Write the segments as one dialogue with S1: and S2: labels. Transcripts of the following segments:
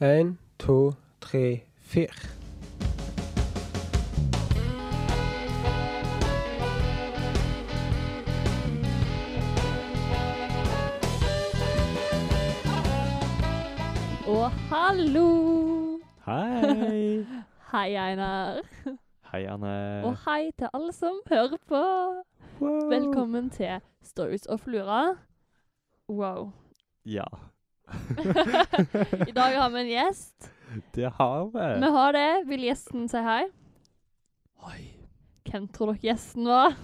S1: En, to, tre, fire.
S2: Og hallo!
S3: Hei!
S2: Hei, Einar.
S3: Hei, Anne.
S2: Og hei til alle som hører på.
S3: Wow.
S2: Velkommen til Stories of Lura. Wow.
S3: Ja,
S2: I dag har vi en gjest.
S3: det har vi.
S2: Vi har det. Vil gjesten si hei?
S3: Oi.
S2: Hvem tror dere gjesten var?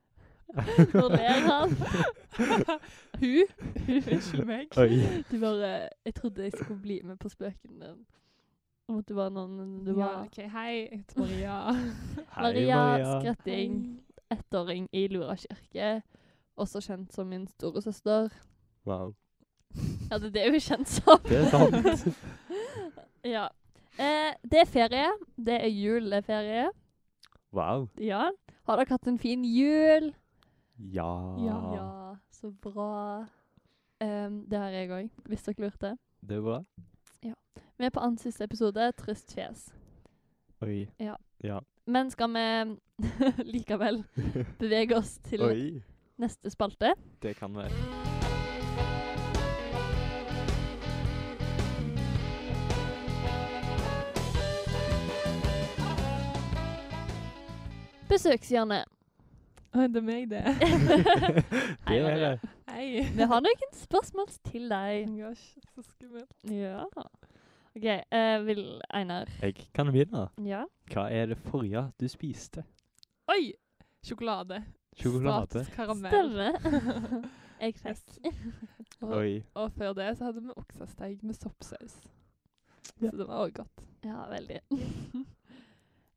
S2: Hvor ler han? Hun? Unnskyld meg.
S3: Oi.
S2: Du bare Jeg trodde jeg skulle bli med på spøken din. Om at du var noen du
S4: Ja,
S2: var
S4: ok, hei, jeg heter Maria.
S3: Hei,
S2: Maria Skretting.
S4: Hei.
S2: ettåring i Lura kirke, også kjent som min storesøster.
S3: Wow.
S2: Ja, det er det hun er kjent som.
S3: Det er sant.
S2: Ja. Eh, det er ferie. Det er juleferie.
S3: Wow.
S2: Ja. Har dere hatt en fin jul?
S3: Ja. Ah.
S2: Ja, så bra. Em, det har jeg òg, hvis dere lurte.
S3: Det er bra.
S2: Vi er på annen siste episode, Trist fjes.
S3: Oi.
S2: Men skal vi likevel bevege oss til
S3: Oi.
S2: neste spalte?
S3: Det kan vi.
S2: Besøkshjørnet.
S4: Å, det er meg, det.
S3: Det
S2: Hei,
S3: er
S2: Maria.
S3: det.
S4: Hei.
S2: Vi har noen spørsmål til
S4: Oh
S2: deg.
S4: my gosh, så skummelt.
S2: Ja. OK, eh, vil Einar
S3: Jeg kan begynne.
S2: Ja.
S3: Hva er det forrige du spiste?
S4: Oi! Sjokolade.
S3: Sjokolade.
S4: Status karamell.
S2: Stemmer. Jeg
S4: Yes.
S2: fikk
S4: Og,
S3: Oi.
S4: og før det så hadde vi oksesteig med soppsaus.
S3: Ja.
S4: Så det var også godt.
S2: Ja, veldig.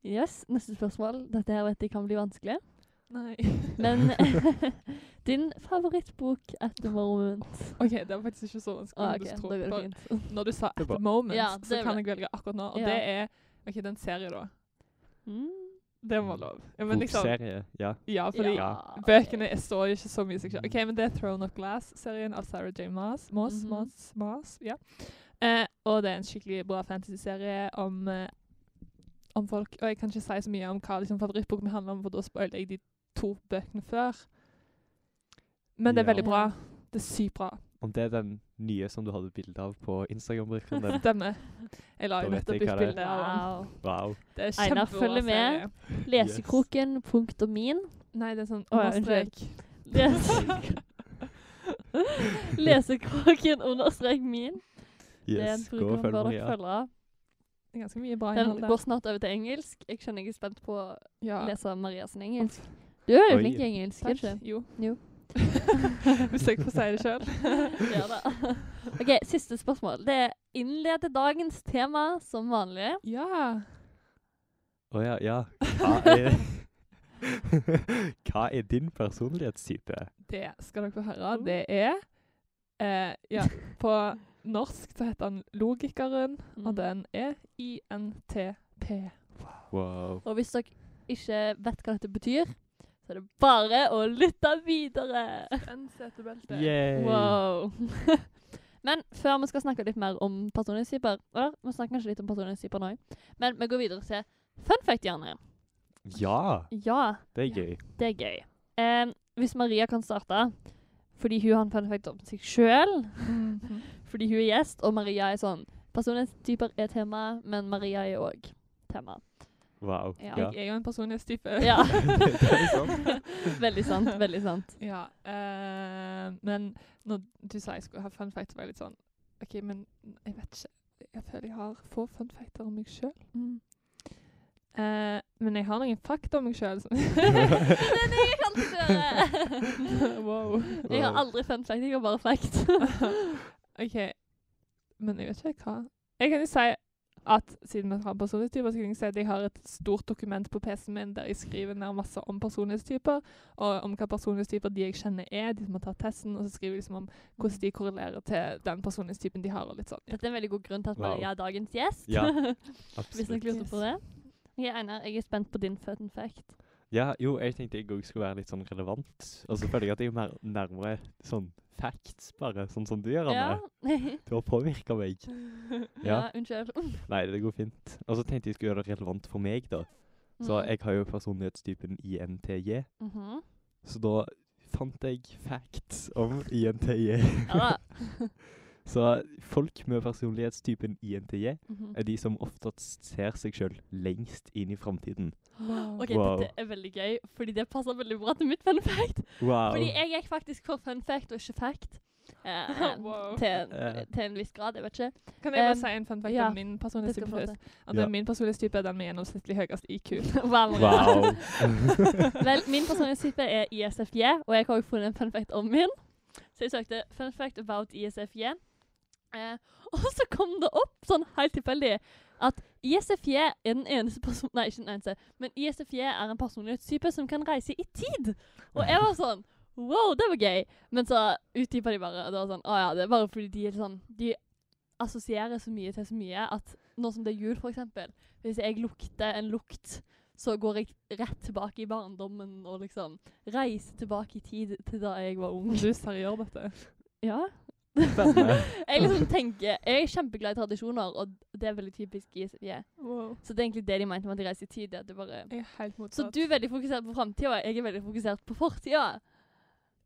S2: Yes, neste spørsmål. Dette her vet jeg kan bli vanskelig.
S4: Nei.
S2: Men din favorittbok at the moment?
S4: Ok, det var faktisk ikke så vanskelig
S2: Ah,
S4: ah,
S2: ok,
S4: du
S2: da
S4: tror.
S2: går det
S4: For
S2: fint.
S4: Når du sa
S3: Det er
S4: at the
S3: bra.
S4: moment,
S2: Ja, det
S4: så
S2: er
S4: kan
S2: bra.
S4: jeg velge akkurat nå. Og
S2: Ja.
S4: det er, ok, den serien da.
S2: Mm.
S4: Det var lov. Ja, men liksom,
S3: Bokserie. Ja.
S4: ja, fordi
S3: Ja.
S2: Ah,
S4: Bøkene er så ikke så mye seg selv. Ok, men det er Throne of Glass-serien av Sarah J. Maas. Maas,
S2: Mhm.
S4: Maas, Maas, ja. Eh, og det er en skikkelig bra fantasy-serie om, eh, om folk, og jeg kan ikke si så mye om hva liksom, favorittboken min handler om, for da spoiler jeg de to bøkene før. Men det er
S3: Ja.
S4: veldig bra. Det er sykt bra.
S3: Om det er den nye som du hadde bilde av på Instagram-brukeren din.
S4: Stemmer. Jeg la
S3: Da
S4: jo
S3: vet
S4: nettopp
S3: jeg hva
S4: ut
S3: det
S4: bilde av den.
S2: Wow.
S3: Wow.
S4: Det er
S2: Einar,
S4: kjempebra
S2: følg med.
S4: serie.
S2: Lesekroken, punktum min.
S4: Nei, det er sånn
S2: Å, ja, unnskyld.
S4: understrek.
S2: Lesekroken, Lesekroken understrek min. Det er en
S3: Yes. Gå
S2: bruker man
S3: og følg
S2: bør dere
S3: Maria.
S2: følge.
S4: Det er ganske mye bra innhold
S2: Den
S4: der.
S2: går snart over til engelsk. Jeg skjønner jeg er spent på å
S4: Ja.
S2: lese Marias engelsk. Du er jo
S3: Oi.
S2: flink i engelsk, er du ikke?
S4: Takk. Jo.
S2: Jo.
S4: Hvis jeg får si det sjøl.
S2: Ja da. OK, siste spørsmål. Det innleder dagens tema som vanlig.
S4: Ja.
S3: Å ja, ja. Hva er, Hva er din personlighetstype?
S4: Det skal dere få høre.
S2: Oh.
S4: Det er eh, Ja, på norsk så heter han Logikeren,
S2: Mm.
S4: og den er INTP.
S3: Wow.
S2: Og hvis dere ikke vet hva dette betyr, så er det bare å lytte videre.
S4: Den setebeltet.
S3: Yay.
S2: Wow. Men før vi skal snakke litt mer om personlighetstyper Eller, vi snakker kanskje litt om personlighetstyper nå, men vi går videre til fun fact-hjørnet.
S3: Ja,
S2: Ja,
S3: det er
S4: Ja.
S3: gøy.
S2: det er gøy. Eh, hvis Maria kan starte, fordi hun har en fun fact om seg sjøl
S4: Mhm.
S2: Fordi hun er gjest, og Maria er sånn Personlighetstyper er tema, men Maria er òg tema.
S3: Wow.
S2: Ja.
S3: Ja.
S4: Jeg er jo en personlighetstype.
S2: Ja.
S3: Det er sant.
S2: veldig sant. Veldig sant.
S4: Ja, eh, men når du sa jeg skulle ha fun facts, var jeg litt sånn OK, men jeg vet ikke. Jeg føler jeg har få fun facts om meg sjøl. Eh, men jeg har noen fakta om meg sjøl.
S2: Den jeg kan høre!
S4: wow.
S2: Jeg har aldri fun fact, jeg har bare fact.
S4: OK. Men jeg vet ikke hva Jeg kan jo si at siden vi har personlighetstyper, så kan jeg si at jeg har et stort dokument på PC-en min der jeg skriver ned masse om personlighetstyper, og om hva personlighetstyper de jeg kjenner er, de som har tatt testen, og så skriver jeg liksom om hvordan de korrelerer til den personlighetstypen de har, og litt sånn. Ja.
S2: Dette er en veldig god grunn til at
S3: Wow.
S2: Maria er dagens gjest.
S3: Ja,
S2: Hvis dere
S3: absolutt.
S2: lurte på det. Ok, Einar, jeg er spent på din fun fact.
S3: Ja, jo, jeg tenkte jeg òg skulle være litt sånn relevant. Og så føler jeg at jeg er mer nærmere sånn facts, bare. Sånn som du gjør,
S2: Ja.
S3: Anne. Du har påvirka meg. Ja.
S2: ja, unnskyld.
S3: Nei, det går fint. Og så tenkte jeg skulle gjøre det relevant for meg, da. Så
S2: Mm.
S3: jeg har jo personlighetstypen INTJ.
S2: Mhm.
S3: Så da fant jeg facts om INTJ.
S2: Ja da.
S3: Så folk med personlighetstypen INTJ
S2: Mhm.
S3: er de som oftest ser seg sjøl lengst inn i framtiden.
S4: Wow.
S2: OK,
S3: Wow.
S2: dette er veldig gøy, fordi det passer veldig bra til mitt fun fact.
S3: Wow.
S2: Fordi jeg gikk faktisk for fun fact og ikke fact. Eh,
S4: Wow.
S2: til, en,
S3: Eh.
S2: til en viss grad, jeg vet ikke.
S4: Kan jeg bare
S2: Em,
S4: si en fun fact
S2: eh, ja,
S4: om min
S2: Det skal
S4: personlighetstype
S2: vi få
S4: først?
S2: til.
S4: At
S3: Ja.
S4: Min personlighetstype er den med gjennomsnittlig høyest IQ.
S2: Wow. Maria.
S3: wow.
S2: Vel, min personlighetstype er ISFJ, og jeg har også funnet en fun fact om min. Så jeg søkte 'fun fact about E ISFJ', eh, og så kom det opp sånn helt tilfeldig at E ISFJ er den eneste person... Nei, ikke den eneste, men E ISFJ er en personlighetstype som kan reise i tid. Og jeg var sånn Wow, det var gøy! Men så utdypa de bare, og det var sånn Å ja, det er bare fordi de er sånn De assosierer så mye til så mye at nå som det er jul, for eksempel Hvis jeg lukter en lukt så går jeg rett tilbake i barndommen og liksom reiser tilbake i tid til da jeg var ung.
S4: Du seriør dette?
S2: Ja.
S3: Spennende.
S2: Jeg liksom tenker, jeg er kjempeglad i tradisjoner, og det er veldig typisk i SFJ. Så det er egentlig det de mente med at de reiser i tid. det At det bare
S4: Jeg er helt
S2: så
S4: motsatt.
S2: du er veldig fokusert på framtida, jeg er veldig fokusert på fortida.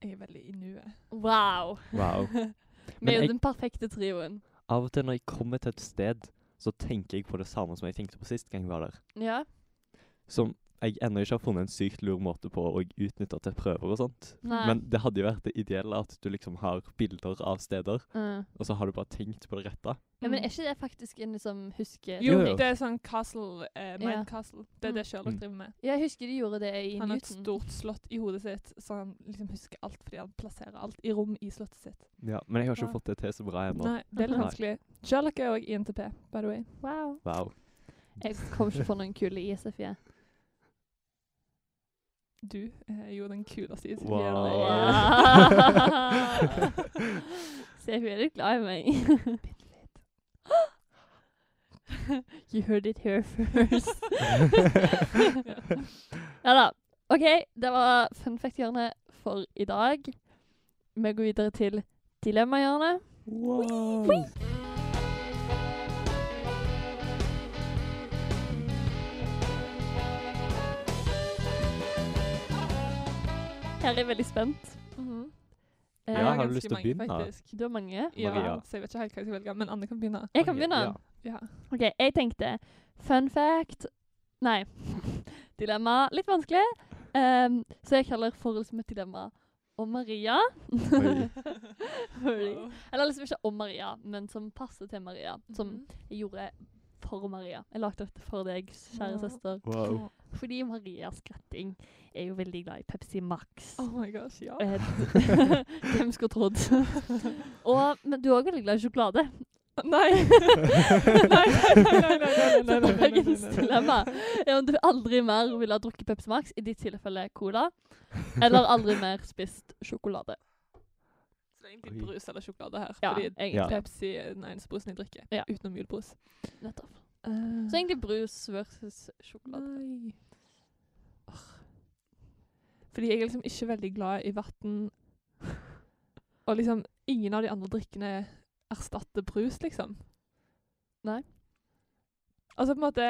S4: Jeg er veldig i nuet.
S2: Wow.
S3: wow.
S2: Vi er
S3: Men
S2: jo
S3: jeg,
S2: den perfekte trioen.
S3: av og til når jeg kommer til et sted, så tenker jeg på det samme som jeg tenkte på sist gang jeg var der.
S2: Ja.
S3: Som jeg ennå ikke har funnet en sykt lur måte på å utnytte til prøver og sånt.
S2: Nei.
S3: Men det hadde jo vært det ideelle at du liksom har bilder av steder,
S2: Mm.
S3: og så har du bare tenkt på det rette.
S2: ja, Men er ikke det faktisk en liksom huske...
S4: Jo,
S3: Jo, jo.
S4: det er sånn castle, eh,
S2: Ja.
S4: mind castle. Det er det Sherlock
S3: Mm.
S4: driver med.
S2: Ja, jeg husker de gjorde det i
S4: Han har et
S2: Newton.
S4: stort slott i hodet sitt, så han liksom husker alt fordi han plasserer alt i rom i slottet sitt.
S3: Ja, men jeg har ikke
S4: Ja.
S3: fått det til så bra ennå.
S4: Nei, det er litt
S3: Nei.
S4: vanskelig. Sherlock er òg i NTP, by the way.
S2: Wow.
S3: Wow.
S2: Jeg kommer ikke på noen kule i E. SFJ.
S4: Du eh, er jo den kuleste i
S3: Wow.
S2: Wow. Se, hun er litt glad i meg. you heard it here first. ja da. OK, det var fun fact-hjørnet for i dag. Vi går videre til dilemma-hjørnet.
S3: wow.
S2: Her er jeg veldig spent.
S4: Mhm.
S2: Eh,
S3: Ja, har du lyst til å begynne?
S2: Du har mange.
S4: Ja,
S3: Maria.
S4: så jeg vet ikke helt hva jeg skal velge, men Anne kan begynne.
S2: Jeg kan
S3: Ok,
S2: begynne.
S3: ja.
S4: Ja.
S2: OK, jeg tenkte fun fact Nei. dilemma. Litt vanskelig. Ehm, så jeg kaller forholdet som et dilemma om Maria.
S3: Oi.
S2: Fordi, eller liksom ikke om Maria, men som passer til Maria.
S4: Mhm.
S2: Som jeg gjorde for Maria. Jeg lagde dette for deg, kjære
S4: Ja.
S2: søster.
S3: wow.
S2: Fordi Maria Skretting er jo veldig glad i Pepsi Max.
S4: Oh my gosh, ja.
S2: Eh, Hvem skulle trodd? Og, men du er òg veldig glad i sjokolade.
S4: Nei. Nei, nei, nei, nei, nei,
S2: Så
S4: nei, nei, nei, nei,
S2: dagens
S4: nei, nei, nei.
S2: dilemma er om du aldri mer ville ha drukket Pepsi Max, i ditt tilfelle cola, eller aldri mer spist sjokolade.
S4: Så det er egentlig
S3: Oi.
S4: brus eller sjokolade her.
S2: Ja,
S4: fordi
S2: egentlig.
S3: Ja.
S4: Pepsi er den eneste brusen jeg drikker,
S2: Ja.
S4: utenom julebrus.
S2: Nettopp. Så egentlig brus versus sjokolade.
S4: Eh, Nei. Åh. Fordi jeg er liksom ikke veldig glad i vann. Og liksom ingen av de andre drikkene erstatter brus, liksom.
S2: Nei.
S4: Altså på en måte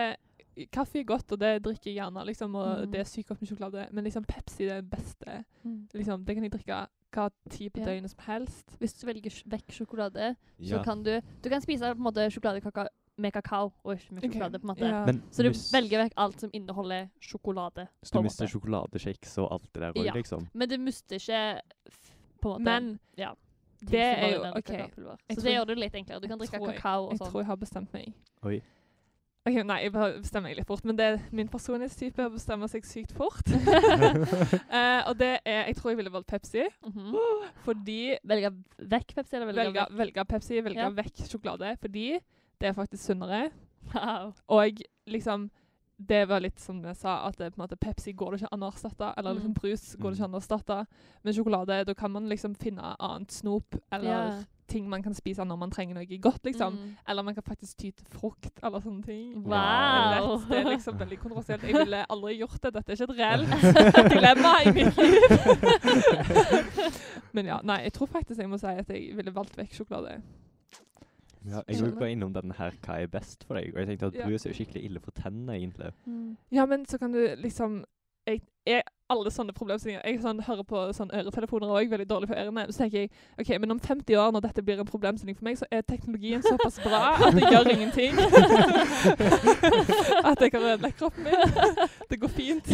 S4: Kaffe er godt, og det drikker jeg gjerne, liksom, og
S2: Mhm.
S4: det er sykt godt med sjokolade. Men liksom Pepsi det er det beste.
S2: Mm.
S4: Liksom, det kan jeg drikke hva tid på
S2: Ja.
S4: døgnet som helst.
S2: Hvis du velger sj- vekk sjokolade, så
S3: Ja.
S2: kan du Du kan spise på en måte sjokoladekaka med kakao, og ikke med
S4: Ok.
S2: sjokolade. på en måte.
S4: Ja.
S3: Men
S2: Så du
S3: hvis-
S2: velger vekk alt som inneholder sjokolade.
S3: hvis
S2: på
S3: du
S2: en
S3: mister
S2: måte.
S3: sjokoladekjeks og alt det der òg,
S2: Ja.
S3: liksom.
S2: Men du mister ikke f- på en måte
S4: Men
S2: ja, ting
S4: det
S2: som
S4: er
S2: bare
S4: jo
S2: inneholder
S4: OK.
S2: kakaopulver.
S4: Jeg
S2: Så
S4: tror-
S2: det gjør det litt enklere. Du kan
S4: jeg
S2: drikke
S4: tror jeg-
S2: kakao og
S4: Jeg tror
S2: sånn.
S4: jeg har bestemt meg.
S3: Oi.
S4: Ok, Nei, jeg bare bestemmer meg litt fort, men det er min personlighetstype er å bestemme seg sykt fort. Eh, og det er Jeg tror jeg ville valgt Pepsi,
S2: Mhm.
S4: fordi
S2: Velge vekk Pepsi, eller velge
S4: Velge,
S2: vekk?
S4: velge Pepsi, velge
S2: Ja.
S4: vekk sjokolade, fordi det er faktisk sunnere.
S2: Wow.
S4: Og liksom Det var litt som vi sa, at det, på en måte, Pepsi går det ikke an å erstatte. Eller liksom
S2: Mm.
S4: brus går det ikke an å erstatte. Men sjokolade, da kan man liksom finne annet snop eller
S2: Ja.
S4: ting man kan spise når man trenger noe godt, liksom.
S2: Mm.
S4: Eller man kan faktisk ty til frukt eller sånne ting. Jeg
S2: Wow.
S4: vet, det er liksom veldig kontroversielt. Jeg ville aldri gjort det. Dette er ikke et reelt dilemma i mitt liv. Men ja, nei, jeg tror faktisk jeg må si at jeg ville valgt vekk sjokolade.
S3: Ja, jeg
S2: Skjønner.
S3: var bare innom den her hva er best for deg, og jeg tenkte at
S4: Ja.
S3: brus er jo skikkelig ille for tennene, egentlig.
S2: Mm.
S4: Ja, men så kan du liksom jeg, jeg, Alle sånne problemstillinger Jeg sånn, hører på sånn øretelefoner og er veldig dårlig for ørene. Så tenker jeg ok, men om 50 år, når dette blir en problemstilling for meg, så er teknologien såpass bra at det gjør ingenting. at jeg kan ødelegge kroppen min. Det går fint.
S3: Det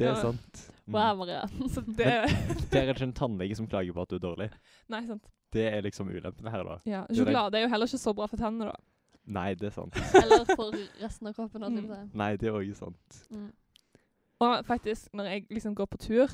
S4: Ja,
S3: er
S4: men-
S3: sant. Mm.
S2: Wow, Maria.
S4: Så det
S3: Der er det ikke en tannlege som klager på at du er dårlig.
S4: Nei, sant.
S3: Det er liksom ulempene her, da.
S4: Ja,
S3: er det.
S4: Sjokolade er jo heller ikke så bra for tennene, da.
S3: Nei, det er sant.
S2: Eller for resten av kroppen. holdt jeg
S4: Mm.
S2: på å si.
S3: Nei, det er òg sant.
S2: Mm.
S4: Og faktisk, når jeg liksom går på tur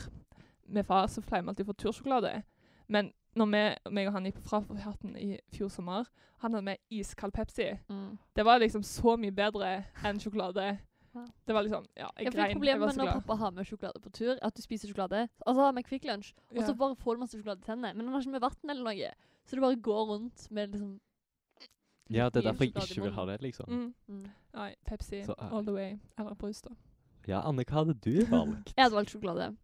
S4: med far, så pleier vi alltid å få tursjokolade. Men når vi, meg og han gikk på Fraferhatten i fjor sommer, han hadde med iskald Pepsi.
S2: Mm.
S4: Det var liksom så mye bedre enn sjokolade.
S2: Wow.
S4: Det var liksom Ja, jeg
S2: Jeg fikk
S4: grein. Jeg
S2: problemer
S4: var
S2: med
S4: så
S2: når
S4: glad.
S2: pappa har med sjokolade på tur. At du spiser sjokolade. Altså har med Kvikk Lunsj, og så
S4: Ja.
S2: bare får du masse sjokolade i tennene. Men han har ikke med vann eller noe. Så du bare går rundt med liksom
S3: Ja, det er
S2: Mye
S3: derfor jeg
S2: sjokolade i
S3: ikke vil ha
S2: munnen.
S3: det, liksom.
S4: Mm.
S2: mm.
S4: Nei, Pepsi
S3: Så, eh.
S4: all the way. Eller brus, da.
S3: Ja, Anne, hva hadde du valgt?
S2: Jeg hadde valgt sjokolade.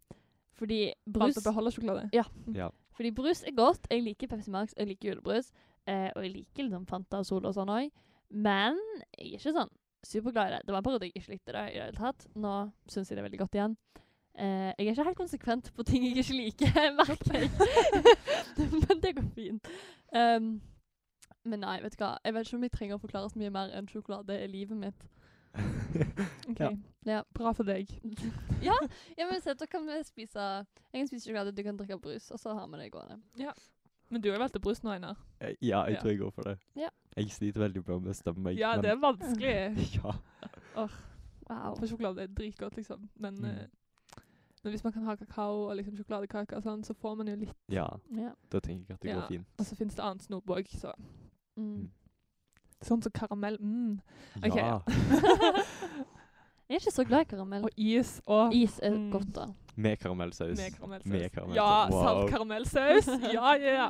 S2: Fordi brus
S4: Valgte å beholde sjokolade.
S3: Ja.
S2: Fordi brus er godt. Jeg liker Pepsi Max, jeg liker julebrus. Eh, og jeg liker liksom Fanta og Sol og sånn òg. Men jeg er ikke sånn superglad i det. Det var en periode jeg ikke likte det i det hele tatt. Nå syns jeg det er veldig godt igjen. Eh, jeg er ikke helt konsekvent på ting jeg ikke liker, merker jeg. men det går fint. Um, men nei, vet du hva. Jeg vet ikke om jeg trenger å forklare så mye mer enn sjokolade er livet mitt.
S4: Ok.
S3: Ja.
S2: Ja.
S4: Bra for deg.
S2: ja, ja, men sett, da kan vi spise Jeg kan spise sjokolade, du kan drikke brus, og så har vi det gående.
S4: Men du har valgt brus nå, Einar.
S3: Eh, Ja, jeg
S4: Ja.
S3: tror jeg går for det.
S2: Ja.
S3: Jeg sliter veldig med å bestemme meg.
S4: Ja, det er vanskelig.
S3: Ja.
S2: Wow.
S4: For sjokolade er dritgodt, liksom. Men
S3: Mm.
S4: eh, men hvis man kan ha kakao og liksom sjokoladekake og sånn, så får man jo litt.
S3: ja,
S2: Ja.
S3: da tenker jeg at det
S4: Ja.
S3: går fint.
S4: Og så finnes det annet snop òg, så
S2: Mm.
S4: Sånn som karamell. Mm. Ok,
S3: Ja.
S4: ja.
S2: Jeg er ikke så glad i karamell.
S4: Og is og
S2: Is er
S4: Mm.
S2: godt, da.
S3: Med karamellsaus.
S4: med karamellsaus.
S3: Med karamellsaus.
S4: Ja,
S3: Wow.
S4: salt karamellsaus. Ja, ja, ja.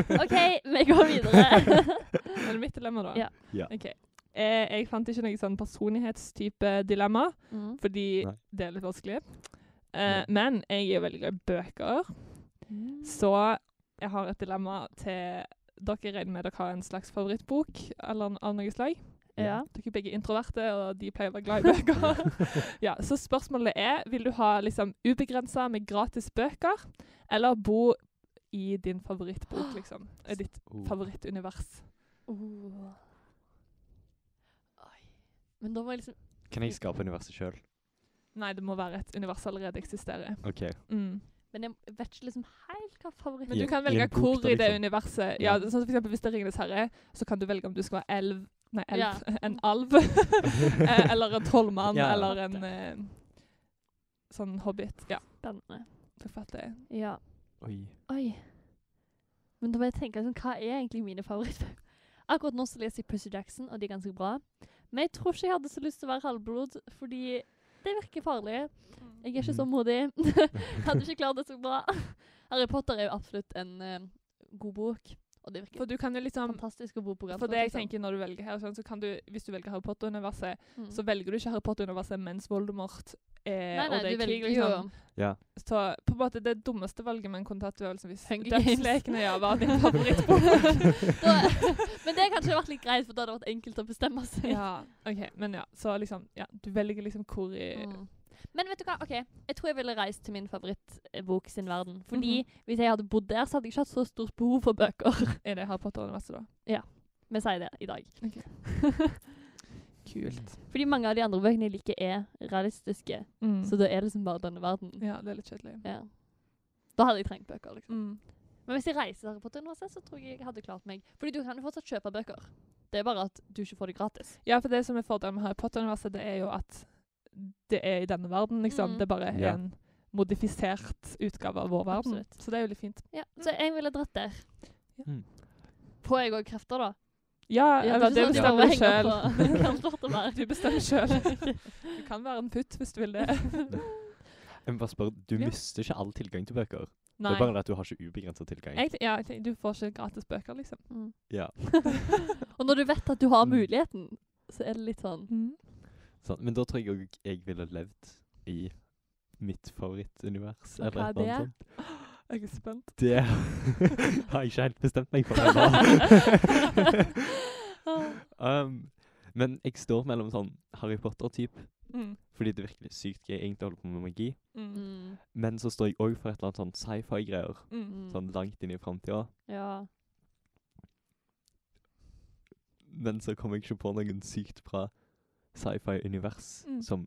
S2: OK, vi går videre.
S4: Er det mitt dilemma, da?
S2: Ja.
S3: Ja.
S4: Ok. Eh, jeg fant ikke noe sånn personlighetstype dilemma,
S2: mm.
S4: fordi
S3: Nei.
S4: det er litt vanskelig.
S3: Nei.
S4: Eh, men jeg er jo veldig glad i bøker, så jeg har et dilemma til dere regner med dere har en slags favorittbok eller en- av noe slag.
S2: Ja.
S4: Dere er begge introverte, og de pleier å være glad i bøker. ja, så spørsmålet er, vil du ha liksom ubegrensa med gratis bøker, eller bo i din favorittbok, liksom? I ditt
S3: Oh.
S4: favorittunivers.
S2: Oh. Oi. Men da må jeg liksom
S3: Kan jeg skape universet sjøl?
S4: Nei, det må være et univers allerede eksisterer.
S3: OK.
S4: Mm.
S2: Men jeg vet ikke liksom helt hva favoritt
S4: Men
S3: I-
S4: du kan
S3: i en
S4: velge
S3: bok,
S4: hvor
S3: da,
S4: i det
S3: liksom.
S4: universet. Ja,
S3: Ja.
S4: sånn som for eksempel hvis det er Ringenes herre, så kan du velge om du skal være elv, nei, elv,
S2: Ja.
S4: en alv, eh, eller en trollmann,
S3: Ja.
S4: eller en eh, sånn hobbit. Ja,
S2: Spennende.
S4: du fatter.
S2: Ja.
S3: Oi.
S2: Oi. Men da må jeg tenke liksom, hva er egentlig mine favorittbøker? Akkurat nå så leser jeg Pussy Jackson, og de er ganske bra. Men jeg tror ikke jeg hadde så lyst til å være halvblod, fordi det virker farlig. Jeg er ikke så
S3: Mhm.
S2: modig. Hadde ikke klart det så bra. Harry Potter er jo absolutt en eh, god bok, og det virker
S4: For du kan jo liksom
S2: fantastisk å bo på
S4: For det jeg tenker når du velger her, sånn, så kan du, hvis du velger Harry Potter-universet,
S2: Mm.
S4: så velger du ikke Harry Potter-universet mens Voldemort er,
S2: nei, nei,
S4: og det
S2: du
S4: er krig,
S2: velger jo
S4: liksom.
S3: Ja.
S4: Så på en måte det dummeste valget man kunne tatt, var liksom hvis
S2: Hunger Games.
S4: Dødslekene ja, var din favorittbok.
S2: da, Men det har kanskje vært litt greit, for da hadde det vært enkelt å bestemme seg.
S4: ja, ok, men ja, så liksom, ja, du velger liksom hvor i
S2: Mm. Men vet du hva, ok, jeg tror jeg ville reist til min favorittbok sin verden. Fordi
S4: Mhm.
S2: hvis jeg hadde bodd der, så hadde jeg ikke hatt så stort behov for bøker.
S4: Er det Harry Potter-universet, da?
S2: Vi sier det i dag.
S4: Kult.
S2: Fordi mange av de andre bøkene jeg liker, er realistiske.
S4: Mm.
S2: Så da er det liksom bare denne verden.
S4: ja, det er litt kjedelig.
S2: Ja. Da hadde jeg trengt bøker, liksom.
S4: Mm.
S2: Men hvis jeg reiser til Harry Potter-universet, så tror jeg jeg hadde klart meg. Fordi du kan jo fortsatt kjøpe bøker. Det er bare at du ikke får det gratis.
S4: Ja, for det som er fordelen med Harry Potter-universet, det er jo at det er i denne verden, liksom.
S2: Mm.
S4: Det er bare
S3: Ja.
S4: en modifisert utgave av vår verden.
S2: Absolutt.
S4: Så det er jo litt fint.
S2: Ja, Så jeg ville dratt der.
S3: Ja. Mm.
S2: Får jeg òg krefter, da?
S4: Ja,
S2: Ja,
S4: eller
S2: er ikke
S4: det
S2: sånn
S4: bestemmer
S2: at jeg bare
S4: du sjøl.
S2: henger på- henger på at det er-
S4: Du bestemmer sjøl. Du kan være en putt hvis du vil det.
S3: Jeg må bare spørre, du
S4: Ja.
S3: mister ikke all tilgang til bøker? Det
S4: Nei.
S3: er bare det at du har ikke ubegrenset tilgang.
S4: Jeg, ja, jeg, tenker, du får ikke gratis bøker, liksom.
S2: Mm.
S3: Ja,
S2: Og når du vet at du har
S3: Mm.
S2: muligheten, så er det litt sånn
S4: Mm.
S3: sant. Men da tror jeg òg jeg ville levd i mitt favorittunivers.
S2: Og hva er
S3: Eller et eller annet sånt.
S4: Jeg er spent.
S3: Det har jeg ikke helt bestemt meg for ennå. um, men jeg står mellom sånn Harry Potter-type,
S4: Mm.
S3: fordi det er virkelig sykt gøy egentlig å holde på med magi.
S4: Mm.
S2: mm.
S3: Men så står jeg òg for et eller annet sånn sci-fi-greier,
S4: Mm.
S2: Mm.
S3: sånn langt inn i framtida.
S2: Ja.
S3: Men så kommer jeg ikke på noen sykt bra sci-fi-univers
S4: Mm.
S3: som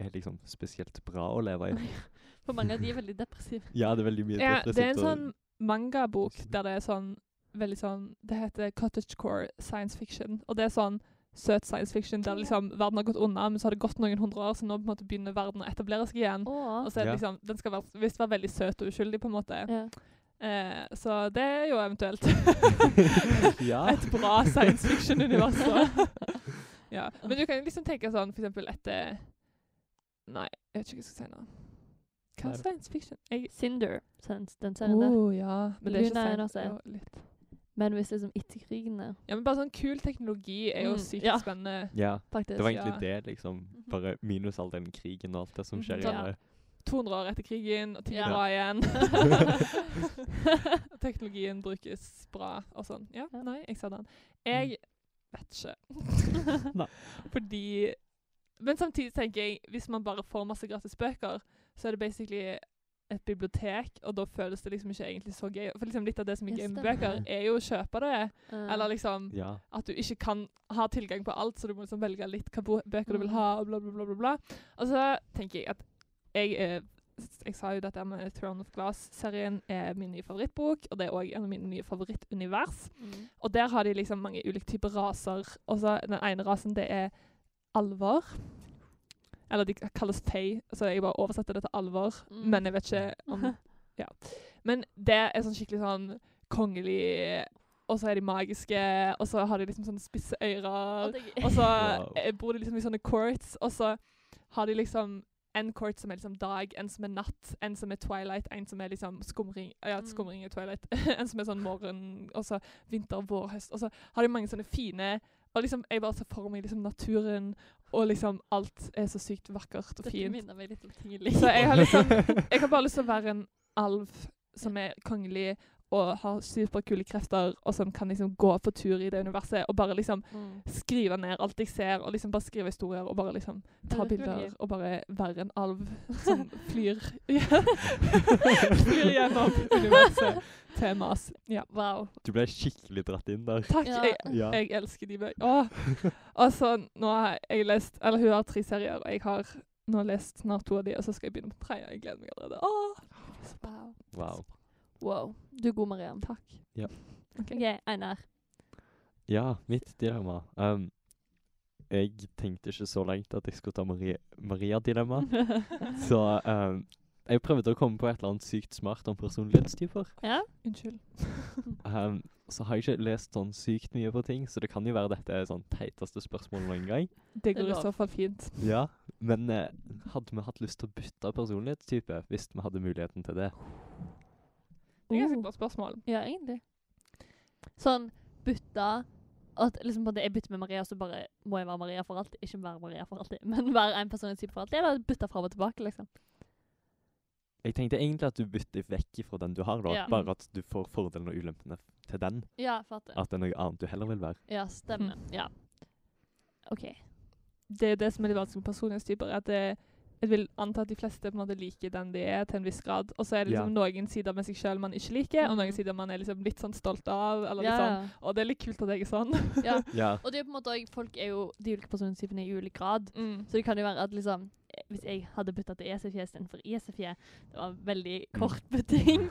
S3: er liksom spesielt bra å leve i.
S2: For mange av de er veldig depressive.
S3: Ja, det er veldig mye
S4: Ja, det er en
S3: depressivt og-
S4: sånn mangabok der det er sånn veldig sånn Det heter cottagecore science fiction. Og det er sånn søt science fiction der liksom verden har gått unna, men så har det gått noen hundre år, så nå på en måte begynner verden å etablere seg igjen. Og
S2: Åh.
S4: så er det
S3: Ja.
S4: liksom Den skal være, visst være veldig søt og uskyldig, på en måte.
S2: Ja.
S4: Eh, så det er jo eventuelt
S3: Ja.
S4: et bra science fiction-univers. da. ja. Men du kan jo liksom tenke sånn for eksempel etter Nei, jeg vet ikke hva jeg skal si nå. Hva
S3: Nei.
S4: er science fiction? Jeg,
S2: Cinder, sen- den serien der.
S4: Åh, ja. Men det er ikke
S2: Luna er
S4: science-
S2: også et.
S4: jo, litt.
S2: Men hvis liksom det er som etter krigen er,
S4: Ja, men bare sånn kul teknologi er jo
S2: Mm,
S4: sykt
S2: ja.
S4: spennende.
S3: ja.
S2: faktisk.
S3: Det var egentlig
S4: Ja.
S3: det, liksom. Bare minus all den krigen og alt det som skjer
S4: Mhm.
S3: i
S2: Ja.
S3: det.
S4: 200 år etter krigen, og ting
S2: Ja.
S4: er bra igjen. Teknologien brukes bra og sånn. Ja,
S2: Ja.
S4: nei, jeg sa den. Jeg vet
S3: Nei.
S4: ikke. Fordi Men samtidig tenker jeg, hvis man bare får masse gratis bøker, så er det basically et bibliotek, og da føles det liksom ikke egentlig så gøy. For liksom litt av det som er
S2: Ja,
S4: gøy med
S2: stemmer.
S4: bøker, er jo å kjøpe det.
S2: Eh,
S4: Eller liksom
S3: Ja.
S4: at du ikke kan ha tilgang på alt, så du må liksom velge litt hva bo- bøker du vil ha, og bla, bla, bla, bla, bla. Og så tenker jeg at jeg eh, s- jeg sa jo dette med Throne of Glass-serien er min nye favorittbok, og det er òg en av mine nye favorittunivers.
S2: mm.
S4: Og der har de liksom mange ulike typer raser. Og så den ene rasen, det er alvor. Eller de kalles fey, så jeg bare oversetter det til alvor.
S2: Mm.
S4: Men jeg vet ikke om Ja. Men det er sånn skikkelig sånn kongelig Og så er de magiske, og så har de liksom sånne spisse ører.
S2: Og det
S4: Og så
S3: Wow.
S4: eh, bor de liksom i sånne courts, og så har de liksom en court som er liksom dag, en som er natt, en som er twilight, en som er liksom skumring Ja,
S2: Mm.
S4: skumring er twilight. en som er sånn morgen, og så vinter, vår, høst. Og så har de mange sånne fine Og liksom, jeg bare ser for meg liksom naturen, og liksom alt er så sykt vakkert og
S2: Dette
S4: fint.
S2: minner meg litt om ting jeg
S4: Så
S2: liker.
S4: jeg har liksom Jeg har bare lyst til å være en alv som er kongelig og har superkule krefter, og som kan liksom gå på tur i det universet og bare liksom
S2: Mm.
S4: skrive ned alt jeg ser, og liksom bare skrive historier og bare liksom ta
S2: Det virker veldig
S4: bilder
S2: gøy.
S4: og bare være en alv som flyr Flyr gjennom universet. Temas. Ja.
S2: Wow.
S3: Du ble skikkelig dratt inn der.
S4: Takk.
S2: Ja.
S4: Jeg,
S3: Ja.
S4: jeg elsker de bøkene. Åh. Altså, nå har jeg lest Eller hun har tre serier, og jeg har nå lest snart to av de, og så skal jeg begynne på den tredje. Jeg gleder meg allerede. Åh.
S2: Wow.
S3: Wow.
S2: wow. Du er god, Mariam.
S4: Takk.
S3: Ja.
S4: Ok.
S2: OK, Einar.
S3: Ja, mitt dilemma. Um, jeg tenkte ikke så langt at jeg skulle ta Maria- Maria-dilemma. så um, jeg prøvde å komme på et eller annet sykt smart om personlighetstyper.
S2: Ja?
S4: Unnskyld.
S3: Um, så har jeg ikke lest sånn sykt mye på ting, så det kan jo være dette er sånn teiteste spørsmål noen gang.
S4: Det
S2: er
S4: går i
S2: lov.
S4: så fall fint.
S3: Ja, Men eh, hadde vi hatt lyst til å bytte personlighetstype hvis vi hadde muligheten til det?
S4: Det er ganske
S2: Oh.
S4: bra spørsmål.
S2: Ja, egentlig. Sånn bytta at liksom på det, Jeg bytter med Maria, så bare må jeg være Maria for alltid. Ikke være Maria for alltid, men være en person jeg sier for alltid. Eller bytte fram og tilbake, liksom.
S3: Jeg tenkte egentlig at du bytter vekk fra den du har, da.
S2: Ja.
S3: Bare at du får fordelene og ulempene til den.
S2: Ja, fatter.
S3: At det er noe annet du heller vil være.
S2: Ja, stemmer. Ja. Mm. OK.
S4: Det er det som er det vanskelige med personlighetstyper. er at det, Jeg vil anta at de fleste på en måte liker den de er, til en viss grad. Og så er det
S3: Ja.
S4: liksom noen sider med seg sjøl man ikke liker, og
S2: Mhm.
S4: noen sider man er liksom litt sånn stolt av. Eller
S2: Ja,
S4: liksom,
S2: ja.
S4: Og det er litt kult at jeg er sånn.
S2: Ja.
S3: Ja.
S2: Og det er på en måte også, folk er jo de ulike personlighetstypene i ulik grad.
S4: Mm.
S2: Så det kan jo være at liksom eh, hvis jeg hadde bytta til ESFJ istedenfor ISFJ Det var en veldig kort bytting.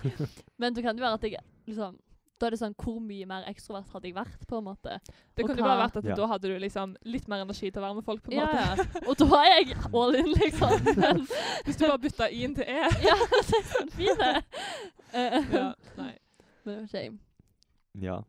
S2: Men så kan det være at jeg liksom Da er det sånn Hvor mye mer ekstrovert hadde jeg vært, på en måte?
S4: Det
S2: Og
S4: kunne jo bare
S2: hva-
S4: vært at
S3: Ja.
S4: da hadde du liksom litt mer energi til å være med folk. på en
S2: Ja,
S4: måte.
S2: ja. Og da er jeg all in, liksom. Men
S4: Hvis du bare bytta i-en til e.
S2: ja, det er sånn fint, det. Eh,
S4: Ja. Nei.
S2: Men det var shame.
S3: ja.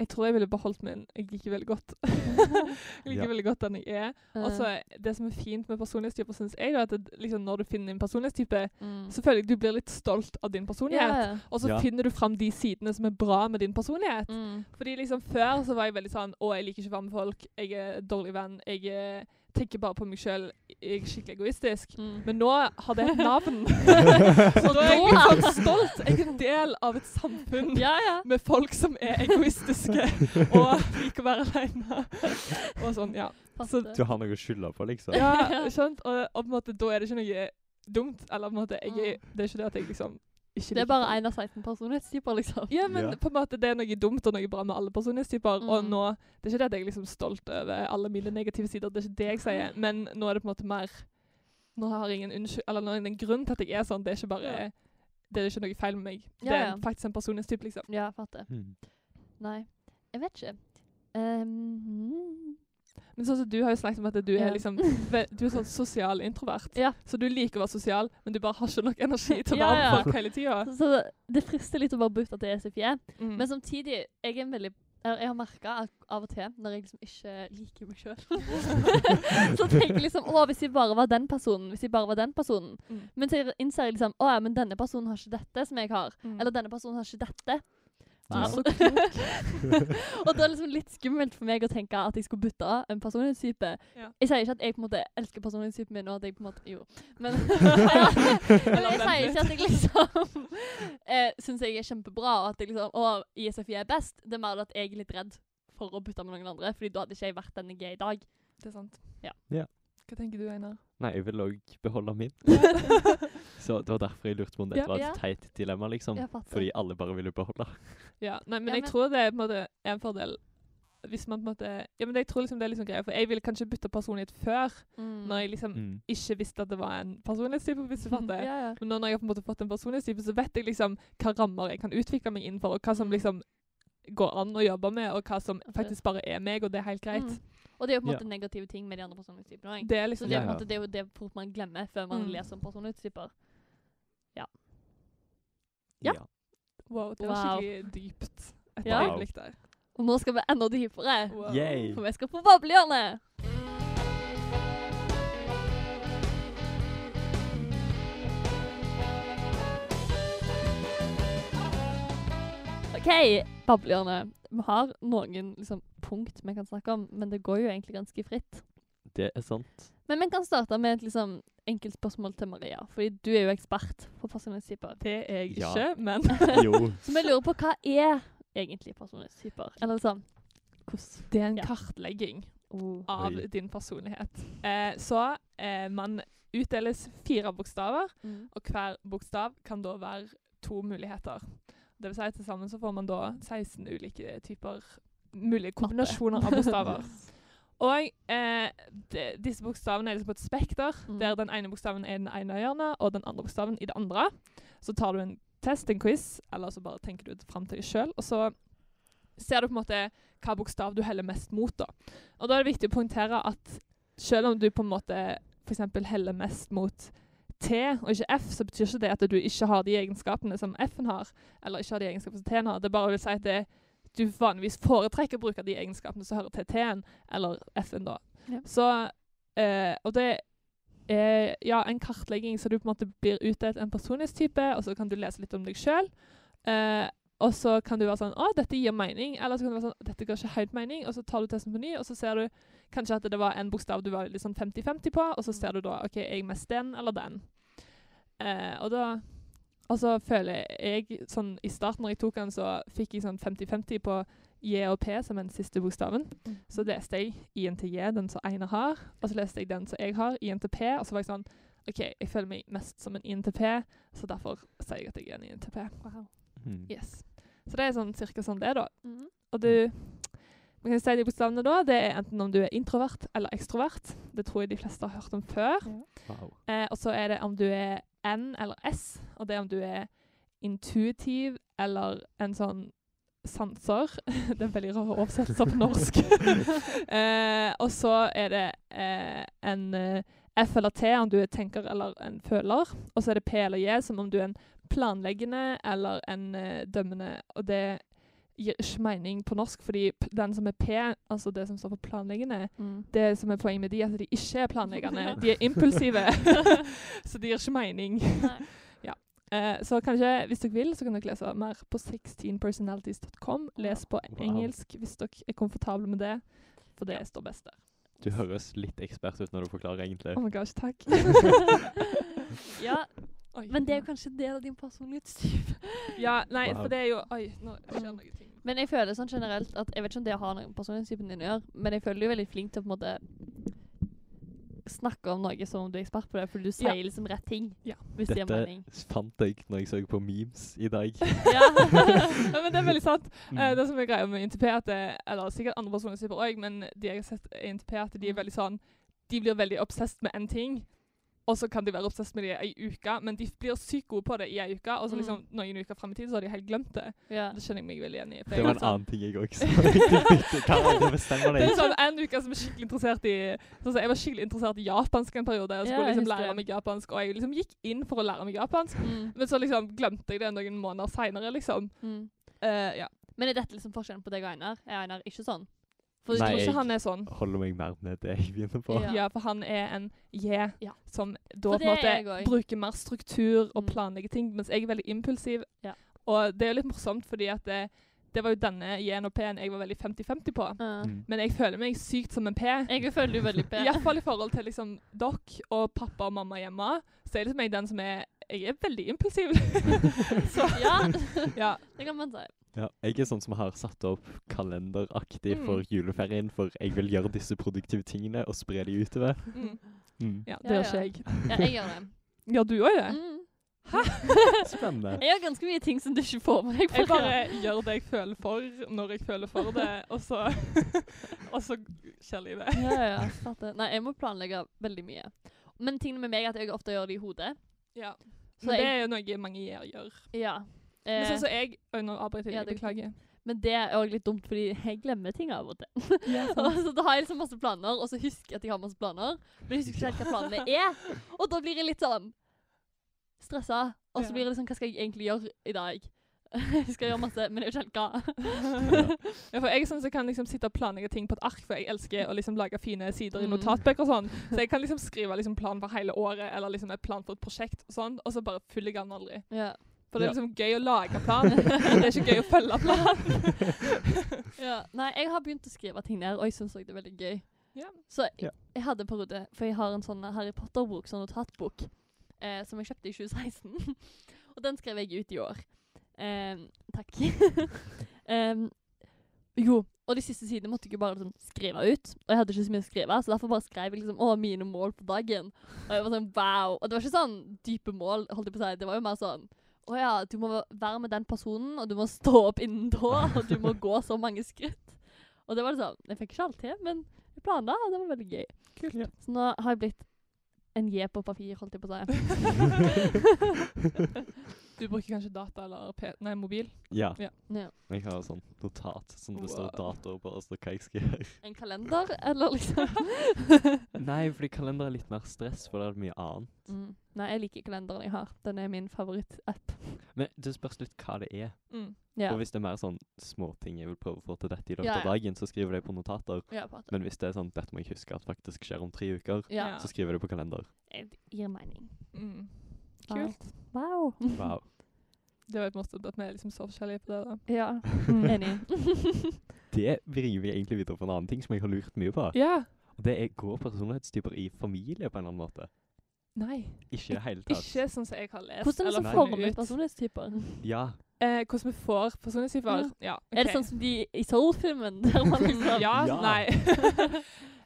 S4: Jeg tror jeg ville beholdt min. Jeg liker veldig godt Jeg liker
S3: Ja.
S4: veldig godt den jeg er. Og
S2: Eh,
S4: så det som er fint med personlighetstyper, syns jeg, da, at det, liksom, når du finner en personlighetstype,
S2: mm.
S4: så føler jeg du blir litt stolt av din
S2: ja,
S4: personlighet.
S2: ja.
S4: Og så
S3: Ja.
S4: finner du fram de sidene som er bra med din personlighet.
S2: Mm.
S4: Fordi liksom Før så var jeg veldig sånn Å, jeg liker ikke å være med folk. Jeg er dårlig venn. Jeg eh, tenker bare på meg sjøl. Jeg er skikkelig egoistisk.
S2: Mm.
S4: Men nå har det et navn. så da er jeg
S2: da-
S4: liksom stolt. Jeg er en del av et samfunn
S2: ja, ja.
S4: med folk som er egoistiske og liker å være aleine. Og sånn, ja.
S2: Fatter.
S3: Du har noe å skylde på, liksom.
S4: ja skjønt? Og, og på en måte, da er det ikke noe dumt. Eller på en måte, jeg, er- det er ikke det at jeg liksom ikke
S2: Mm. Det er
S4: liker
S2: bare
S4: folk.
S2: én av 16 personlighetstyper, liksom.
S4: Ja, men
S3: Ja.
S4: på en måte det er noe dumt og noe bra med alle personlighetstyper. Og
S2: Mm.
S4: nå, Det er ikke det at jeg er liksom stolt over alle mine negative sider, det er ikke det jeg sier, men nå er det på en måte mer Nå har jeg ingen unnskyld, eller nå er det en grunn til at jeg er sånn. Det er ikke bare
S2: Ja.
S4: Det er ikke noe feil med meg.
S2: Ja,
S4: Det er
S2: ja.
S4: faktisk en personlighetstype, liksom.
S2: Ja, fatter.
S3: Mm.
S2: Nei. Jeg vet ikke. Ehm,
S4: Men sånn som du har jo snakket om at du
S2: Ja.
S4: er liksom ve- Du er sånn sosial introvert.
S2: Ja.
S4: Så du liker å være sosial, men du bare har ikke nok energi til å
S2: Ja,
S4: være med
S2: ja.
S4: folk hele tida.
S2: så, så det frister litt å bare bytte til ECFJ.
S4: Mm.
S2: Men samtidig, jeg er en veldig eller jeg har merka av og til, når jeg liksom ikke liker meg sjøl Så tenker jeg liksom Å, hvis jeg bare var den personen, hvis jeg bare var den personen.
S4: Mm.
S2: Men så innser jeg liksom Å ja, men denne personen har ikke dette som jeg har.
S4: Mm.
S2: Eller denne personen har ikke dette.
S3: Du er
S2: Wow. og det er liksom litt skummelt for meg å tenke at jeg skulle bytte av en personlighetstype.
S4: Ja.
S2: Jeg sier ikke at jeg på en måte elsker personlighetstypen min, og at jeg på en måte Jo. Men, men jeg sier ikke at jeg liksom eh, syns jeg er kjempebra, og at jeg liksom Å, ISFI er best. Det er mer det at jeg er litt redd for å bytte med noen andre, Fordi da hadde ikke jeg vært den jeg er i dag.
S4: Det er sant.
S2: Ja.
S3: Ja.
S4: Hva tenker du, Einar?
S3: Nei, jeg vil òg beholde min. Så det var derfor jeg lurte på om dette
S4: Ja.
S3: var et
S2: Ja.
S3: teit dilemma, liksom.
S2: Jeg fatter.
S3: Fordi alle bare ville beholde.
S4: Ja, nei, men
S2: Ja,
S4: jeg
S2: men-
S4: tror det er på en måte en fordel hvis man på en måte Ja, men jeg tror liksom det er liksom greia, for jeg ville kanskje bytte personlighet før,
S2: Mm.
S4: når jeg liksom
S3: Mm.
S4: ikke visste at det var en personlighetstype, hvis du fatter.
S2: Ja, ja.
S4: Men nå når jeg har på en måte fått en personlighetstype, så vet jeg liksom hva rammer jeg kan utvikle meg innenfor, og hva
S2: Mm.
S4: som liksom går an å jobbe med, og hva som faktisk bare er meg, og det er helt greit.
S2: Mm. Og det er jo på en
S3: Ja.
S2: måte negative ting med de andre personlighetstypene òg.
S4: Det er
S2: Så
S4: liksom
S2: det er,
S3: Ja,
S2: på en
S3: ja.
S2: måte, det er jo det fort man glemmer før man
S4: Mm.
S2: leser om personlighetstyper. Ja.
S3: Ja.
S4: Wow, det var
S2: Wow.
S4: skikkelig dypt. Et
S2: Ja.
S4: øyeblikk der.
S2: Og nå skal vi enda dypere,
S4: Wow.
S3: Yay.
S2: for vi skal på boblehjørnet! OK, boblehjørnet. Vi har noen liksom, punkt vi kan snakke om, men det går jo egentlig ganske fritt.
S3: Det er sant.
S2: Men vi kan starte med et liksom, enkelt spørsmål til Maria, fordi du er jo ekspert på personlighetstyper.
S4: Det er jeg
S3: Ja.
S4: ikke, men
S3: Jo.
S2: Så vi lurer på hva er egentlig personlighetstyper? Eller liksom hvordan
S4: det er en
S2: Ja.
S4: kartlegging.
S2: oh.
S4: av
S3: Oi.
S4: din personlighet. Eh, så eh, man utdeles fire bokstaver,
S2: mm.
S4: og hver bokstav kan da være to muligheter. Det vil si at til sammen så får man da 16 ulike typer mulige kombinasjoner av bokstaver. Og eh, de, disse bokstavene er liksom på et spekter,
S2: Mm.
S4: der den ene bokstaven er i den ene hjørnet, og den andre bokstaven i det andre. Så tar du en test, en quiz, eller så bare tenker du det fram til deg sjøl, og så ser du på en måte hva bokstav du heller mest mot, da. Og da er det viktig å poengtere at selv om du på en måte f.eks. heller mest mot T og ikke F, så betyr ikke det at du ikke har de egenskapene som F-en har, eller ikke har de egenskapene som T-en har. Det bare vil si at det, du vanligvis foretrekker å bruke de egenskapene som hører til T-en, eller F-en, da.
S2: Ja.
S4: Så eh, Og det er ja, en kartlegging, så du på en måte blir utdelt en personlighetstype, og så kan du lese litt om deg sjøl. Eh, og så kan du være sånn 'Å, dette gir mening.' Eller så kan du være sånn 'Dette ga ikke helt mening.' Og så tar du testen på ny, og så ser du kanskje at det var en bokstav du var litt sånn 50-50 på, og så ser du da 'OK, er jeg mest den eller den?' Eh, og da Og så føler jeg sånn I starten når jeg tok den, så fikk jeg sånn 50-50 på J og P som den siste bokstaven. Så leste jeg I-en til J, den som Einar har, og så leste jeg den som jeg har, I-en til P, og så var jeg sånn OK, jeg føler meg mest som en INTP, så derfor sier jeg at jeg er en INTP.
S2: Wow.
S3: Mm.
S4: Yes. Så det er sånn cirka sånn det er, da.
S2: Mhm.
S4: Og du Man kan si de bokstavene da, det er enten om du er introvert eller ekstrovert. Det tror jeg de fleste har hørt om før.
S3: Wow.
S4: Eh, og så er det om du er N eller S, og det er om du er intuitiv eller en sånn sanser. det er veldig rare oversettelser sånn på norsk. eh, og så er det eh, en eh, F eller T om du er tenker eller en føler. Og så er det P eller J som om du er en planleggende eller en eh, dømmende. Og det gir ikke mening på norsk, fordi p- den som er P, altså det som står for planleggende,
S2: Mm.
S4: det som er poenget med de, er at de ikke er planleggende. De er impulsive. så de gir ikke mening.
S2: Nei.
S4: Eh, så kanskje, hvis dere vil, så kan dere lese mer på 16personalities.com. Les på
S3: Wow.
S4: engelsk hvis dere er komfortable med det, for det står best der.
S3: Du høres litt ekspert ut når du forklarer, egentlig.
S4: Oh my gosh, takk.
S2: ja,
S4: Oi.
S2: men det er jo kanskje en del av din personlighetstype.
S4: Ja, nei,
S3: Wow.
S4: for det er jo Oi, nå skjer noe ting.
S2: Men jeg føler sånn generelt at Jeg vet ikke om det har noe med personlighetstypen din å gjøre, men jeg føler du er veldig flink til å på en måte snakke om noe som om du er ekspert på det, fordi du
S4: Ja.
S2: sier liksom rett ting.
S4: Ja.
S2: Hvis det gir
S3: Dette
S2: mening.
S3: fant jeg når jeg så på memes i dag.
S2: Ja.
S4: ja, men det er veldig sant.
S3: Mm.
S4: Eh, det som er greia med NTP, er at det, eller sikkert andre personer sier òg, men de jeg har sett i NTP, er at
S3: Mm.
S4: de er veldig sånn De blir veldig obsessed med én ting, og så kan de være obsessed med det i ei uke, men de blir sykt gode på det i ei uke, og så
S2: Mm.
S4: liksom noen uker frem i tid så har de helt glemt det.
S2: ja.
S4: Det kjenner jeg meg veldig igjen i. for
S3: Det
S4: jeg
S3: var
S4: er
S3: en
S4: sånn-
S3: annen ting jeg også sa. Hva er det bestemmer
S4: Det
S3: deg?
S4: er sånn en uke som er skikkelig interessert i sånn som Jeg var skikkelig interessert i japansk en periode.
S2: Ja,
S4: Jeg skulle
S2: jeg
S4: liksom
S2: husker
S4: lære
S2: det.
S4: meg japansk, og jeg liksom gikk inn for å lære meg japansk.
S2: Mm.
S4: Men så liksom glemte jeg det noen måneder seinere, liksom.
S2: Mm.
S4: Eh, ja.
S2: Men er dette liksom forskjellen på deg og Einar? Er Einar ikke sånn?
S4: For jeg
S3: Nei,
S4: tror ikke
S3: jeg-
S4: han er sånn.
S3: Holder meg mer med det jeg begynner på.
S2: Ja.
S4: Ja. for han er en J
S2: Ja.
S4: som da
S2: For
S4: på en
S2: det er jeg
S4: måte
S2: også.
S4: bruker mer struktur og
S2: Mm.
S4: planlegger ting, mens jeg er veldig impulsiv.
S2: Ja.
S4: Og det er jo litt morsomt, fordi at det, det var jo denne J-en og P-en jeg var veldig 50-50 på.
S2: Uh,
S3: Mm.
S4: Men jeg føler meg sykt som en P.
S2: jeg føler du veldig
S4: I
S2: bedre.
S4: hvert fall i forhold til liksom dere og pappa og mamma hjemme, så er liksom jeg den som er Jeg er veldig impulsiv. så
S2: ja,
S4: ja.
S2: det kan man si.
S3: Ja, jeg er sånn som har satt opp kalenderaktig for
S2: Mm.
S3: juleferien, for jeg vil gjøre disse produktive tingene og spre de utover.
S4: Mm.
S3: Mm.
S4: ja det
S2: Ja,
S4: gjør
S2: ja.
S4: ikke jeg.
S2: Ja, jeg gjør det.
S4: Gjør du òg det?
S2: Mm.
S3: Spennende.
S2: Jeg gjør ganske mye ting som du ikke får med deg.
S4: Jeg
S2: fra.
S4: bare gjør det jeg føler for, når jeg føler for det, og så Og så skjer livet.
S2: ja, ja, ja, fatter. Nei, jeg må planlegge veldig mye. Men tingene med meg er at jeg ofte gjør det i hodet.
S4: Ja.
S2: Så
S4: Men det
S2: jeg-
S4: er jo noe mange gjør. gjør.
S2: Ja.
S4: Men
S2: Eh,
S4: sånn som jeg Oi, nå avbryter jeg.
S2: ja,
S4: jeg
S2: det-
S4: Beklager.
S2: men det er òg litt dumt, fordi jeg glemmer ting av og til. så da har jeg liksom masse planer, og så husker jeg at jeg har masse planer. Men jeg husker ikke helt hva planene er. Og da blir jeg litt sånn stressa. Og
S4: Ja.
S2: så blir det sånn Hva skal jeg egentlig gjøre i dag? Jeg skal gjøre masse, men jeg vet ikke helt hva.
S4: Ja, for jeg er sånn som kan liksom sitte og planlegge ting på et ark, for jeg elsker å liksom lage fine sider i
S2: Mm.
S4: notatbøker og sånn. Så jeg kan liksom skrive liksom plan for hele året, eller liksom et plan for et prosjekt og sånn, og så bare følger jeg den aldri.
S2: Ja.
S4: For det
S3: Ja.
S4: er liksom gøy å lage plan, men det er ikke gøy å følge plan.
S2: ja. Nei, jeg har begynt å skrive ting ned, og jeg syns òg det er veldig gøy.
S4: Ja.
S2: Så jeg,
S3: Ja.
S2: jeg hadde en periode, for jeg har en sånn Harry Potter-bok, sånn notatbok, eh, som jeg kjøpte i 2016. og den skrev jeg ut i år. Em, takk. Em, jo, og de siste sidene måtte jeg jo bare liksom, skrive ut. Og jeg hadde ikke så mye å skrive, så derfor bare skrev jeg liksom Å, mine mål på dagen. Og jeg var sånn wow. Og det var ikke sånn dype mål, holdt jeg på å si. Det var jo mer sånn å ja, du må være med den personen, og du må stå opp innen da, og du må gå så mange skritt. Og det var liksom Jeg fikk ikke alt til, men jeg planla, og det var veldig gøy.
S3: Kult. Ja.
S2: Så nå har jeg blitt en J på papir, holdt jeg på å si.
S4: Du bruker kanskje data eller P nei, mobil?
S3: ja.
S4: Ja.
S2: Ja.
S3: Jeg har sånn notat som det står
S4: Wow.
S3: datoer på, og så hva jeg skal gjøre.
S2: En kalender, eller liksom
S3: Nei, fordi kalender er litt mer stress, for det er mye annet.
S2: mm. Nei, jeg liker kalenderen jeg har. Den er min favorittapp.
S3: Men det spørs litt hva det er.
S4: Mm.
S2: Ja.
S3: Og hvis det er mer sånn småting jeg vil prøve å få til dette i løpet
S2: Ja,
S3: av dagen, så skriver jeg det på notater.
S2: Ja, på at-
S3: Men hvis det er sånn dette må jeg huske at faktisk skjer om tre uker,
S2: ja.
S4: Ja.
S3: så skriver jeg det på kalender.
S2: Eh, Det gir mening.
S4: Mm.
S2: Ja.
S4: Kult.
S2: Wow.
S3: Wow.
S4: Det var litt morsomt at vi er liksom så forskjellige på det. da.
S2: Ja,
S4: Mm.
S2: enig.
S3: Det bringer vi egentlig videre på en annen ting som jeg har lurt mye på.
S4: Ja.
S3: Og det er går personlighetstyper i familie på en eller annen måte.
S4: Nei.
S3: Ikke i det hele tatt.
S4: Ikke sånn som jeg har lest.
S2: Hvordan er det
S4: eller
S2: som
S3: Nei.
S4: funnet
S2: former
S4: ut.
S2: personlighetstyper?
S3: Ja.
S4: Eh, hvordan vi får personlighetstyper? Ja.
S2: Er det
S4: ok.
S2: sånn som de i Soul-filmen? Der man liksom
S4: Ja,
S3: Ja.
S4: nei.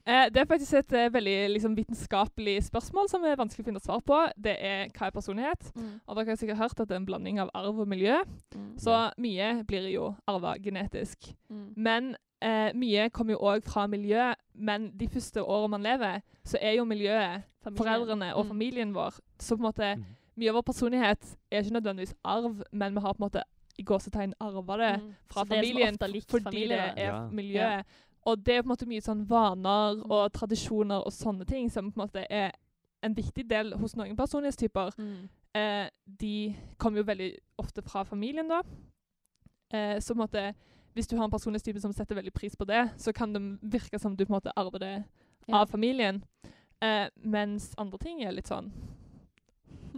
S4: Eh, det er faktisk et eh, veldig liksom, vitenskapelig spørsmål som er vanskelig å finne et svar på. Det er hva er personlighet?
S2: Mm.
S4: Og dere har sikkert hørt at det er en blanding av arv og miljø.
S2: Mm.
S4: Så mye blir jo arva genetisk.
S2: Mm.
S4: Men eh, mye kommer jo òg fra miljø. Men de første årene man lever, så er jo miljøet,
S2: Familien.
S4: foreldrene og
S2: Mm.
S4: familien vår. Så på en måte,
S3: Mm.
S4: mye av vår personlighet er ikke nødvendigvis arv, men vi har på en måte i gåsetegn arva det
S2: Mm.
S4: fra
S2: Så det er som
S4: familien
S2: ofte likt
S4: fordi
S2: familie, da.
S4: det er
S3: Ja.
S4: miljøet. Og det er på en måte mye sånn vaner
S2: Mm.
S4: og tradisjoner og sånne ting som på en måte er en viktig del hos noen personlighetstyper.
S2: Mm.
S4: Eh, de kommer jo veldig ofte fra familien, da. Eh, så på en måte hvis du har en personlighetstype som setter veldig pris på det, så kan det virke som du på en måte arver det
S2: Ja.
S4: av familien. Eh, mens andre ting er litt sånn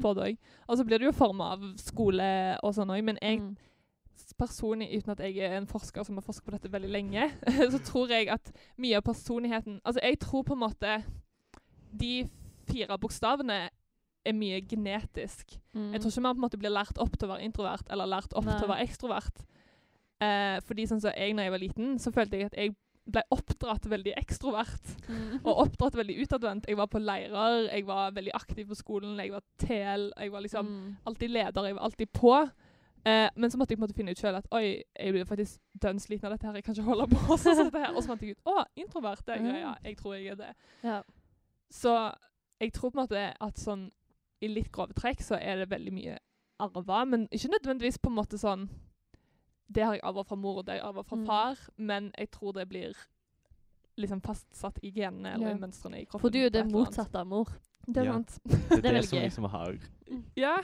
S4: både òg. Og så blir det jo forma av skole og sånn òg, men jeg
S2: Mm.
S4: personlig, uten at jeg er en forsker som har forsket på dette veldig lenge, så tror jeg at mye av personligheten Altså, jeg tror på en måte de fire bokstavene er mye genetisk.
S2: Mm.
S4: Jeg tror ikke man på en måte blir lært opp til å være introvert eller lært opp til
S2: Nei.
S4: å være ekstrovert. Eh, fordi sånn som jeg når jeg var liten, så følte jeg at jeg ble oppdratt veldig ekstrovert.
S2: Mm.
S4: Og oppdratt veldig utadvendt. Jeg var på leirer, jeg var veldig aktiv på skolen, jeg var TL, jeg var liksom
S2: Mm.
S4: alltid leder, jeg var alltid på. Eh, men så måtte jeg på en måte finne ut sjøl at oi, jeg blir faktisk dønn sliten av dette her, jeg kan ikke holde på sånn som dette her. Og så fant jeg ut å, introvert, det er greia, jeg tror jeg er det.
S2: Ja.
S4: Så jeg tror på en måte at sånn i litt grove trekk så er det veldig mye arva, men ikke nødvendigvis på en måte sånn Det har jeg arva fra mor, og det har jeg arva fra
S2: Mm.
S4: far, men jeg tror det blir liksom fastsatt i genene eller
S2: Ja.
S4: i mønstrene i kroppen.
S2: For du er jo
S4: på et
S2: det
S4: eller annet.
S2: motsatte av mor.
S4: Det er
S3: Ja.
S4: sant.
S3: Det er
S2: Det er
S3: det,
S2: veldig
S3: som
S2: gøy.
S3: liksom har
S4: Ja,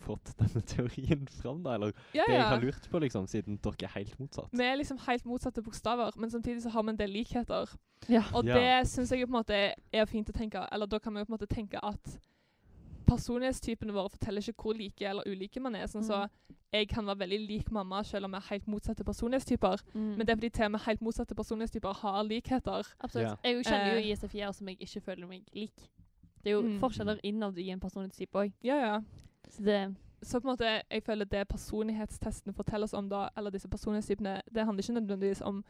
S3: fått denne teorien fram, da. Eller
S4: ja,
S3: det jeg
S4: ja.
S3: har lurt på, liksom, siden dere er helt motsatt.
S4: Vi er liksom helt motsatte bokstaver, men samtidig så har vi en del likheter.
S2: Ja.
S4: Og
S3: Ja.
S4: det syns jeg jo på en måte er fint å tenke. Eller da kan vi jo på en måte tenke at personlighetstypene våre forteller ikke hvor like eller ulike man er. Sånn så jeg kan være veldig lik mamma selv om vi er helt motsatte personlighetstyper.
S2: Mm.
S4: Men det er fordi til og med helt motsatte personlighetstyper har likheter.
S2: Absolutt. Jeg kjenner jo ISF4 som jeg ikke føler meg lik. Det er jo
S4: Mm.
S2: forskjeller innad i en personlighetstype òg.
S4: Ja, ja.
S2: Så det
S4: Så på en måte, jeg føler det personlighetstestene forteller oss om da, eller disse personlighetstypene, det handler ikke nødvendigvis om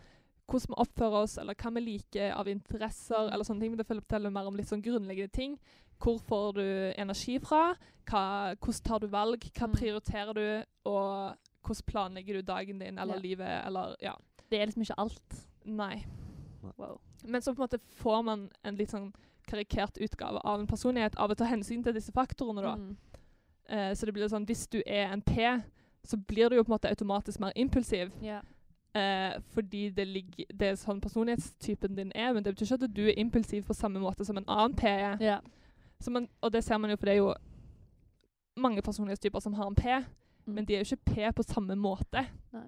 S4: hvordan vi oppfører oss, eller hva vi liker av
S2: Mm.
S4: interesser, eller sånne ting, men det føler- forteller mer om litt sånn grunnleggende ting. Hvor får du energi fra? Hva, hvordan tar du valg? Hva
S2: Mm.
S4: prioriterer du? Og hvordan planlegger du dagen din, eller
S2: Ja.
S4: livet, eller ja.
S2: Det er liksom ikke alt.
S4: Nei.
S2: Wow.
S4: Men så på en måte får man en litt sånn karikert utgave av en personlighet av å ta hensyn til disse faktorene, da.
S2: Mm.
S4: Eh, så det blir sånn, hvis du er en P, så blir du jo på en måte automatisk mer impulsiv.
S2: Ja.
S4: Eh, fordi det, ligger, det er sånn personlighetstypen din er, men det betyr ikke at du er impulsiv på samme måte som en annen P er.
S2: ja.
S4: Så man, og det ser man jo, for det er jo mange personlighetstyper som har en P,
S2: Mm.
S4: men de er jo ikke P på samme måte.
S2: Nei.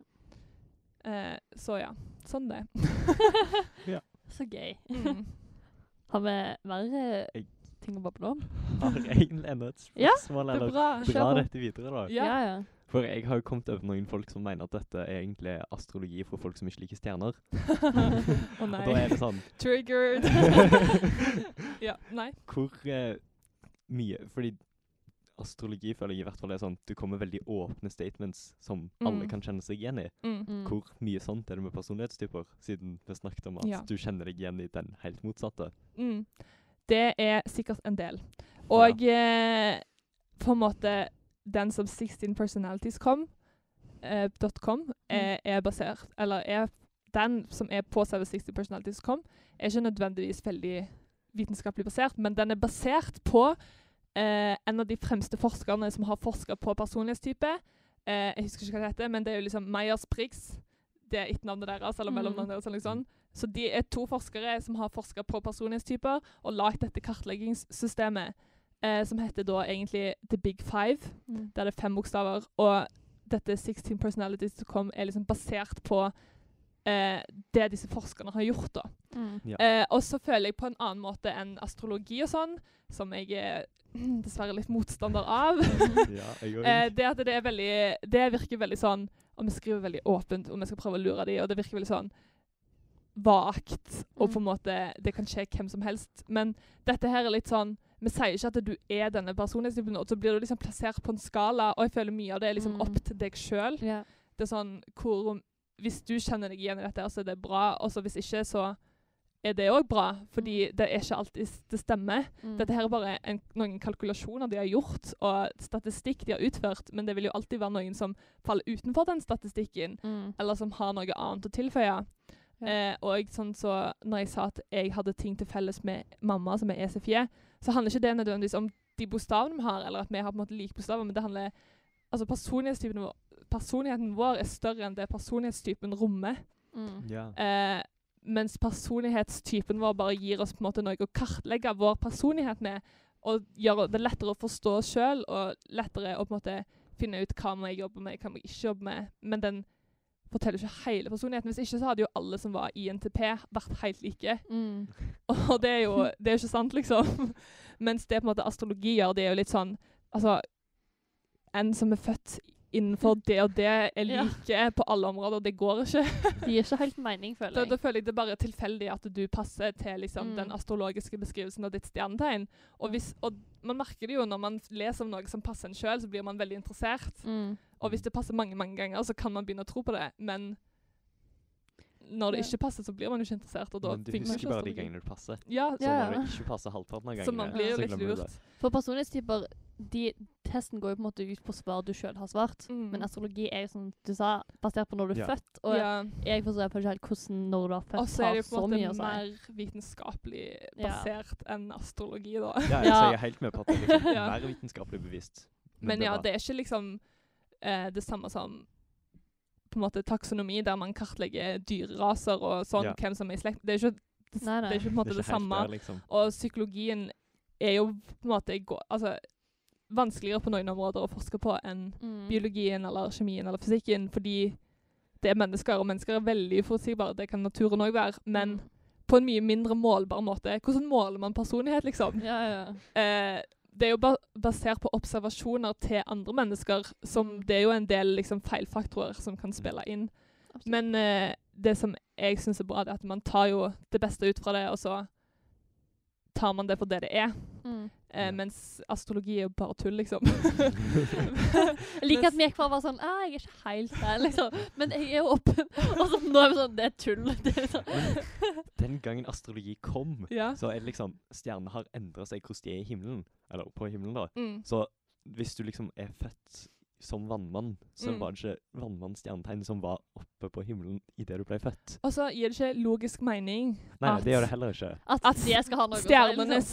S4: Eh, så ja, sånn det.
S2: Så gøy.
S4: Mm.
S2: Har vi mer eh,
S3: Jeg-
S2: ting å bable om?
S3: Har jeg enda et
S2: Ja,
S3: spørsmål,
S4: Det er
S3: eller
S4: bra.
S3: dra
S2: Kjør på.
S3: dette videre, da?
S4: Ja.
S2: ja.
S3: For jeg har jo kommet over noen folk som mener at dette er egentlig astrologi for folk som ikke liker stjerner.
S4: Å
S3: Og
S4: nei.
S3: da er det sånn
S4: Triggered. ja, nei.
S3: Hvor eh, mye Fordi astrologi føler jeg i hvert fall er sånn du kommer med veldig åpne statements som alle
S4: Mm.
S3: kan kjenne seg igjen i.
S4: Mm.
S2: Mm.
S3: Hvor mye sånt er det med personlighetstyper, siden vi snakket om at
S4: Ja.
S3: du kjenner deg igjen i den helt motsatte?
S4: Mm. Det er sikkert en del. Og eh, på en måte den som 16 Personalities kom, eh, dot .com, er, er basert Eller er den som er på selve 16 Personalities kom, er ikke nødvendigvis veldig vitenskapelig basert, men den er basert på eh, en av de fremste forskerne som har forska på personlighetstype. Eh, jeg husker ikke hva det heter, men det er jo liksom Meyers-Briggs. Det er etternavnet deres, eller
S2: Mm.
S4: mellomnavnet deres. eller noe sånt. Så de er to forskere som har forska på personlighetstyper og lagd dette kartleggingssystemet, eh, som heter da egentlig The Big Five,
S2: Mm.
S4: der det er fem bokstaver. Og dette 16 Personalities som kom, er liksom basert på eh, det disse forskerne har gjort. da.
S2: Mm.
S3: Ja.
S4: Eh, og så føler jeg på en annen måte enn astrologi og sånn, som jeg er dessverre litt motstander av.
S3: ja, jeg
S4: Eh,
S3: òg.
S4: det at det er veldig Det virker veldig sånn Og vi skriver veldig åpent, og vi skal prøve å lure dem, og det virker veldig sånn vagt, og på en måte Det kan skje hvem som helst. Men dette her er litt sånn Vi sier ikke at du er denne personlighetstypen, og så blir du liksom plassert på en skala, og jeg føler mye av det er liksom
S2: Mm.
S4: opp til deg sjøl.
S2: Ja.
S4: Det er sånn hvor Hvis du kjenner deg igjen i dette, her, så er det bra, og så hvis ikke, så er det òg bra, fordi det er ikke alltid s- det stemmer.
S2: Mm.
S4: Dette her er bare en, noen kalkulasjoner de har gjort, og statistikk de har utført, men det vil jo alltid være noen som faller utenfor den statistikken,
S2: mm.
S4: eller som har noe annet å tilføye.
S2: Ja.
S4: Eh, og jeg, sånn så, når jeg sa at jeg hadde ting til felles med mamma, som er ECFJ, så handler ikke det nødvendigvis om de bokstavene vi har, eller at vi har på en måte like bokstaver, men det handler Altså personlighetstypen vår, personligheten vår er større enn det personlighetstypen rommer.
S2: Mm.
S3: Ja.
S4: Eh, mens personlighetstypen vår bare gir oss på en måte noe å kartlegge vår personlighet med, og gjør det lettere å forstå oss sjøl, og lettere å på en måte finne ut hva må jeg jobbe med, hva må jeg ikke jobbe med. Men den forteller ikke hele personligheten. Hvis ikke så hadde jo alle som var i NTP, vært helt like.
S2: Mm.
S4: Og det er jo det er ikke sant, liksom. Mens det på en måte astrologi gjør, det er jo litt sånn Altså En som er født innenfor det og det, er
S2: Ja.
S4: like på alle områder. Det går ikke.
S2: Det gir ikke helt mening,
S4: Da,
S2: føler
S4: da
S2: jeg.
S4: føler jeg det bare er tilfeldig at du passer til liksom,
S2: Mm.
S4: den astrologiske beskrivelsen av ditt stjernetegn. Og, hvis, og man merker det jo når man leser om noe som passer en sjøl, så blir man veldig interessert.
S2: Mm.
S4: Og hvis det passer mange mange ganger, så kan man begynne å tro på det. Men når det
S2: Ja.
S4: ikke passer, så blir man jo ikke interessert. Og da
S3: Men du
S4: funker
S3: husker
S4: ikke
S3: bare de
S4: astrologi.
S3: gangene det passer.
S4: Ja,
S3: Så
S2: Ja,
S3: når
S2: ja.
S3: det ikke passer halvparten av gangene,
S4: så man blir jo
S2: så
S4: litt
S3: glemmer du det.
S4: lurt.
S2: For personlighetstyper de, Testen går jo på en måte ut på svar du sjøl har svart.
S4: Mm.
S2: Men astrologi er jo, som du sa, basert på når du er
S3: Ja.
S2: født. Og
S4: ja.
S2: jeg forstår jeg ikke helt hvordan når du er født,
S4: Og så er det
S2: har
S4: jo på
S2: så
S4: en
S2: mye å
S4: måte
S2: si.
S4: mer vitenskapelig
S2: Ja.
S4: basert enn astrologi, da.
S2: Ja.
S3: Ja, altså, jeg er helt med på at det er liksom
S4: Ja.
S3: mer vitenskapelig bevisst.
S4: Men ja,
S3: var-
S4: det er ikke liksom eh, det samme som på en måte taksonomi, der man kartlegger dyreraser og sånn,
S3: Ja.
S4: hvem som er i slekt. Det er ikke, det,
S2: Nei, nei.
S4: Det, er ikke på en måte det,
S3: helt
S4: samme.
S3: Der, liksom.
S4: Og psykologien er jo på en måte gå- altså, vanskeligere på noen områder å forske på enn
S2: Mm.
S4: biologien eller kjemien eller fysikken, fordi det er mennesker, og mennesker er veldig uforutsigbare. Det kan naturen òg være, men
S2: Mm.
S4: på en mye mindre målbar måte. Hvordan måler man personlighet, liksom?
S2: Ja, ja.
S4: eh, det er jo ba basert på observasjoner til andre mennesker,
S3: Mm.
S4: som det er jo en del liksom, feilfaktorer som kan spille inn.
S2: Absolutt.
S4: Men eh, det som jeg syns er bra, det er at man tar jo det beste ut fra det, og så tar man det for det det er.
S2: Mm.
S4: Eh,
S3: Ja.
S4: Mens astrologi er jo bare tull, liksom.
S2: Jeg liker at vi gikk fra å være sånn «Ah, Jeg er ikke helt der, liksom. Men jeg er jo åpen. Og så nå er vi sånn Det er tull. Det er sånn.
S3: Den gangen astrologi kom,
S4: ja.
S3: så er det liksom Stjernene har endra seg hvordan de er i himmelen. Eller på himmelen, da.
S4: Mm.
S3: Så hvis du liksom er født som vannmann, så
S4: Mm.
S3: var det ikke vannmanns stjernetegn som var oppe på himmelen idet du ble født.
S4: Og så gir det ikke logisk mening
S3: Nei,
S4: At-
S3: det gjør det heller ikke.
S2: At,
S4: At
S2: det skal ha noe å si. Liksom.
S4: stjernenes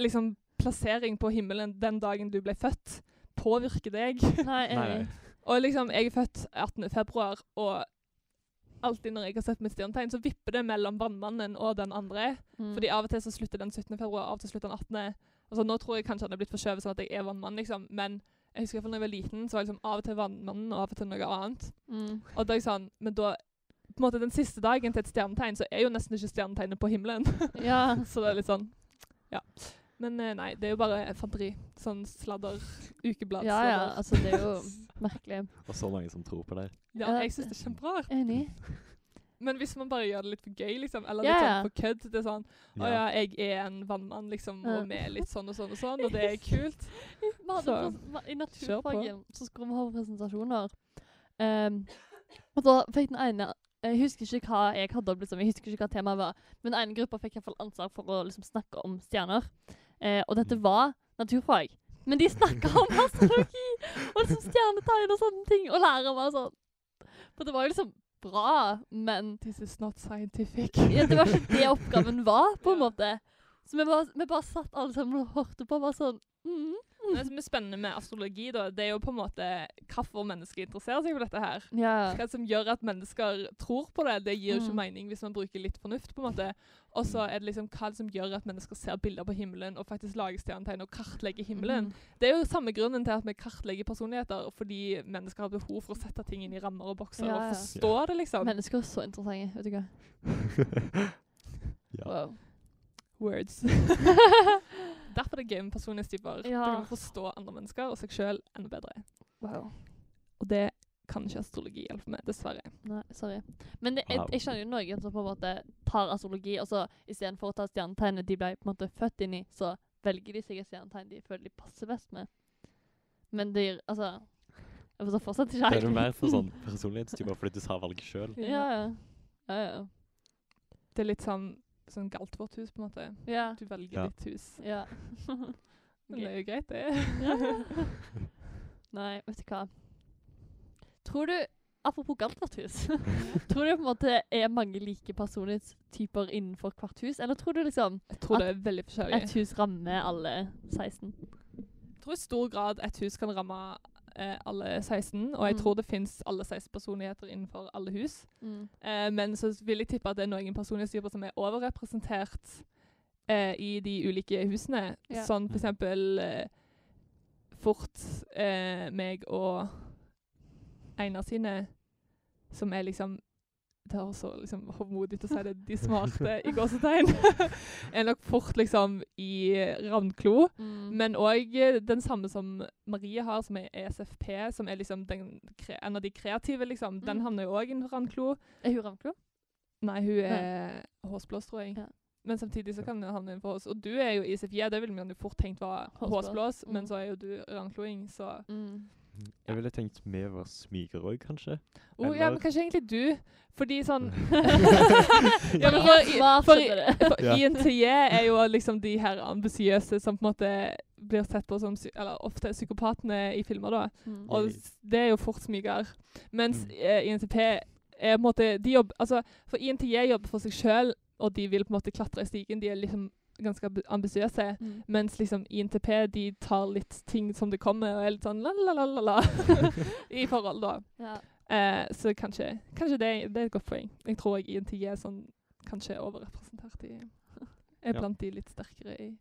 S4: liksom, plassering på himmelen den dagen du ble født, påvirker deg.
S2: Nei,
S3: Nei, nei.
S2: jeg-
S4: Og liksom, jeg er født 18. februar, og alltid når jeg har sett mitt stjernetegn, så vipper det mellom vannmannen og den andre.
S2: Mm.
S4: Fordi av og til så slutter den 17. februar, av og til slutter den 18. Altså, nå tror jeg kanskje han er blitt forskjøvet sånn at jeg er vannmann, liksom. Men jeg husker i hvert fall da jeg var liten, så var jeg liksom av og til vannmannen, og av og til noe annet.
S2: mm.
S4: Og da er jeg sånn, men da, på en måte den siste dagen til et stjernetegn, så er jo nesten ikke stjernetegnet på himmelen.
S2: Ja.
S4: så det er litt sånn, ja. Men eh, nei, det er jo bare fanteri. Sånn sladder, ukeblad.
S2: ja, ja. Altså, det er jo merkelig.
S3: Og så mange som tror på det.
S4: ja, jeg synes det er kjempebra.
S2: Enig.
S4: Men hvis man bare gjør det litt for gøy, liksom, eller
S2: Ja,
S4: litt
S2: ja.
S4: sånn for kødd Det er sånn 'Å ja, jeg er en vannmann, liksom,
S2: Ja.
S4: og vi er litt sånn og sånn og sånn', og det er kult.
S2: Vi hadde
S4: Så,
S2: pres- ma- I
S4: kjør på.
S2: naturfagen så skulle vi ha presentasjoner. Ehm, og da fikk den ene Jeg husker ikke hva jeg hadde opp, liksom. jeg husker ikke hva temaet var, men den ene gruppa fikk i hvert fall ansvar for å liksom, snakke om stjerner. Eh, og dette
S3: Mm.
S2: var naturfag. Men de snakka om astrologi og liksom stjernetegn og sånne ting. Og læreren var sånn For det var jo liksom bra, men
S4: This is not scientific.
S2: ja, det var ikke det oppgaven var, på en
S4: Ja.
S2: måte. Så vi bare, vi bare satt alle sammen og hørte på og var sånn mm,
S4: Men Det som er spennende med astrologi, da, det er jo på en måte hvorfor mennesker interesserer seg for dette her.
S2: ja.
S4: Hva som gjør at mennesker tror på det, det gir jo
S2: Mm.
S4: ikke mening hvis man bruker litt fornuft. på en måte. Og så er det liksom hva som gjør at mennesker ser bilder på himmelen og faktisk lager stjernetegn og kartlegger himmelen. Det er jo samme grunnen til at vi kartlegger personligheter, fordi mennesker har behov for å sette ting inn i rammer og bokser
S2: Ja, ja.
S4: og forstå det, liksom.
S2: Mennesker er så interessante, vet du hva.
S3: Ja.
S2: Wow.
S4: Words. Derfor er det gøy med personlighetstyper.
S2: Ja.
S4: Du kan forstå andre mennesker og seg sjøl enda bedre.
S2: wow.
S4: Og det kan ikke astrologi hjelpe med, dessverre.
S2: Nei, sorry. Men det, jeg,
S3: Wow.
S2: jeg skjønner jo noen som på en måte tar astrologi, og så istedenfor å ta stjernetegnet de ble på en måte født inn i, så velger de seg et stjernetegn de føler de passer best med. Men det gir Altså Jeg forstår fortsatt ikke
S3: Det er jo
S2: helt.
S3: mer for sånn personlighetstyper fordi du tar valget sjøl.
S2: Ja, ja. Ja, ja.
S4: Det er litt sånn, sånn galt vårt hus, på en måte.
S2: ja.
S4: Du velger
S3: Ja.
S4: ditt hus.
S2: ja.
S4: Men det
S2: Gøy.
S4: er jo greit, det.
S2: Ja. Nei, vet du hva. Tror du Apropos Galtvarthus. tror du på en måte er mange like personlighetstyper innenfor hvert hus, eller tror du liksom
S4: Jeg tror det er veldig forskjellig.
S2: et hus rammer alle 16?
S4: Jeg tror i stor grad et hus kan ramme eh, alle 16, og jeg
S2: Mm.
S4: tror det fins alle 16 personligheter innenfor alle hus. Eh, men så vil jeg tippe at det er noen personlighetstyper som er overrepresentert eh, i de ulike husene.
S2: Ja.
S4: Sånn for eksempel eh, Fort, eh, meg og Einar sine som er liksom Det er også liksom hovmodig å si det. De smarte, i gåsetegn, er nok fort liksom i ravnklo.
S2: Mm.
S4: Men òg den samme som Marie har, som er E ESFP, som er liksom den, kre- en av de kreative, liksom. Den
S2: Mm.
S4: havner jo òg i en randklo.
S2: Er hun ravnklo?
S4: Nei, hun er hårsblås, tror jeg.
S2: Ja.
S4: Men samtidig så kan den havne innenfor oss. Og du er jo ISFJ, det ville man jo fort tenkt var
S2: Hårsblås.
S4: hårsblås, men
S2: Mm.
S4: så er jo du randkloing, så
S2: Mm.
S3: Jeg ville tenkt vi var smigere òg, kanskje.
S4: oh, ja,
S3: Eller-
S4: men kanskje egentlig du. Fordi sånn
S2: Ja,
S4: Ja, men for,
S2: svar
S4: for,
S2: skjønner det.
S4: for
S3: Ja.
S4: INTJ er jo liksom de her ambisiøse som på en måte blir sett på som psy- Eller ofte psykopatene i filmer, da.
S2: Mm.
S4: Og
S3: Mm.
S4: s- det er jo fort smyger. Mens
S3: Mm.
S4: eh, INTP er på en måte de jobber, altså, For INTJ jobber for seg sjøl, og de vil på en måte klatre i stigen. De er liksom ganske amb- ambisiøse.
S2: Mm.
S4: Mens liksom INTP de tar litt ting som det kommer, og er litt sånn la-la-la-la i forhold, da.
S2: Ja.
S4: Eh, så kanskje, kanskje det, det er et godt poeng. Jeg tror jeg INTJ er sånn kanskje er overrepresentert i Er
S3: Ja.
S4: blant de litt sterkere i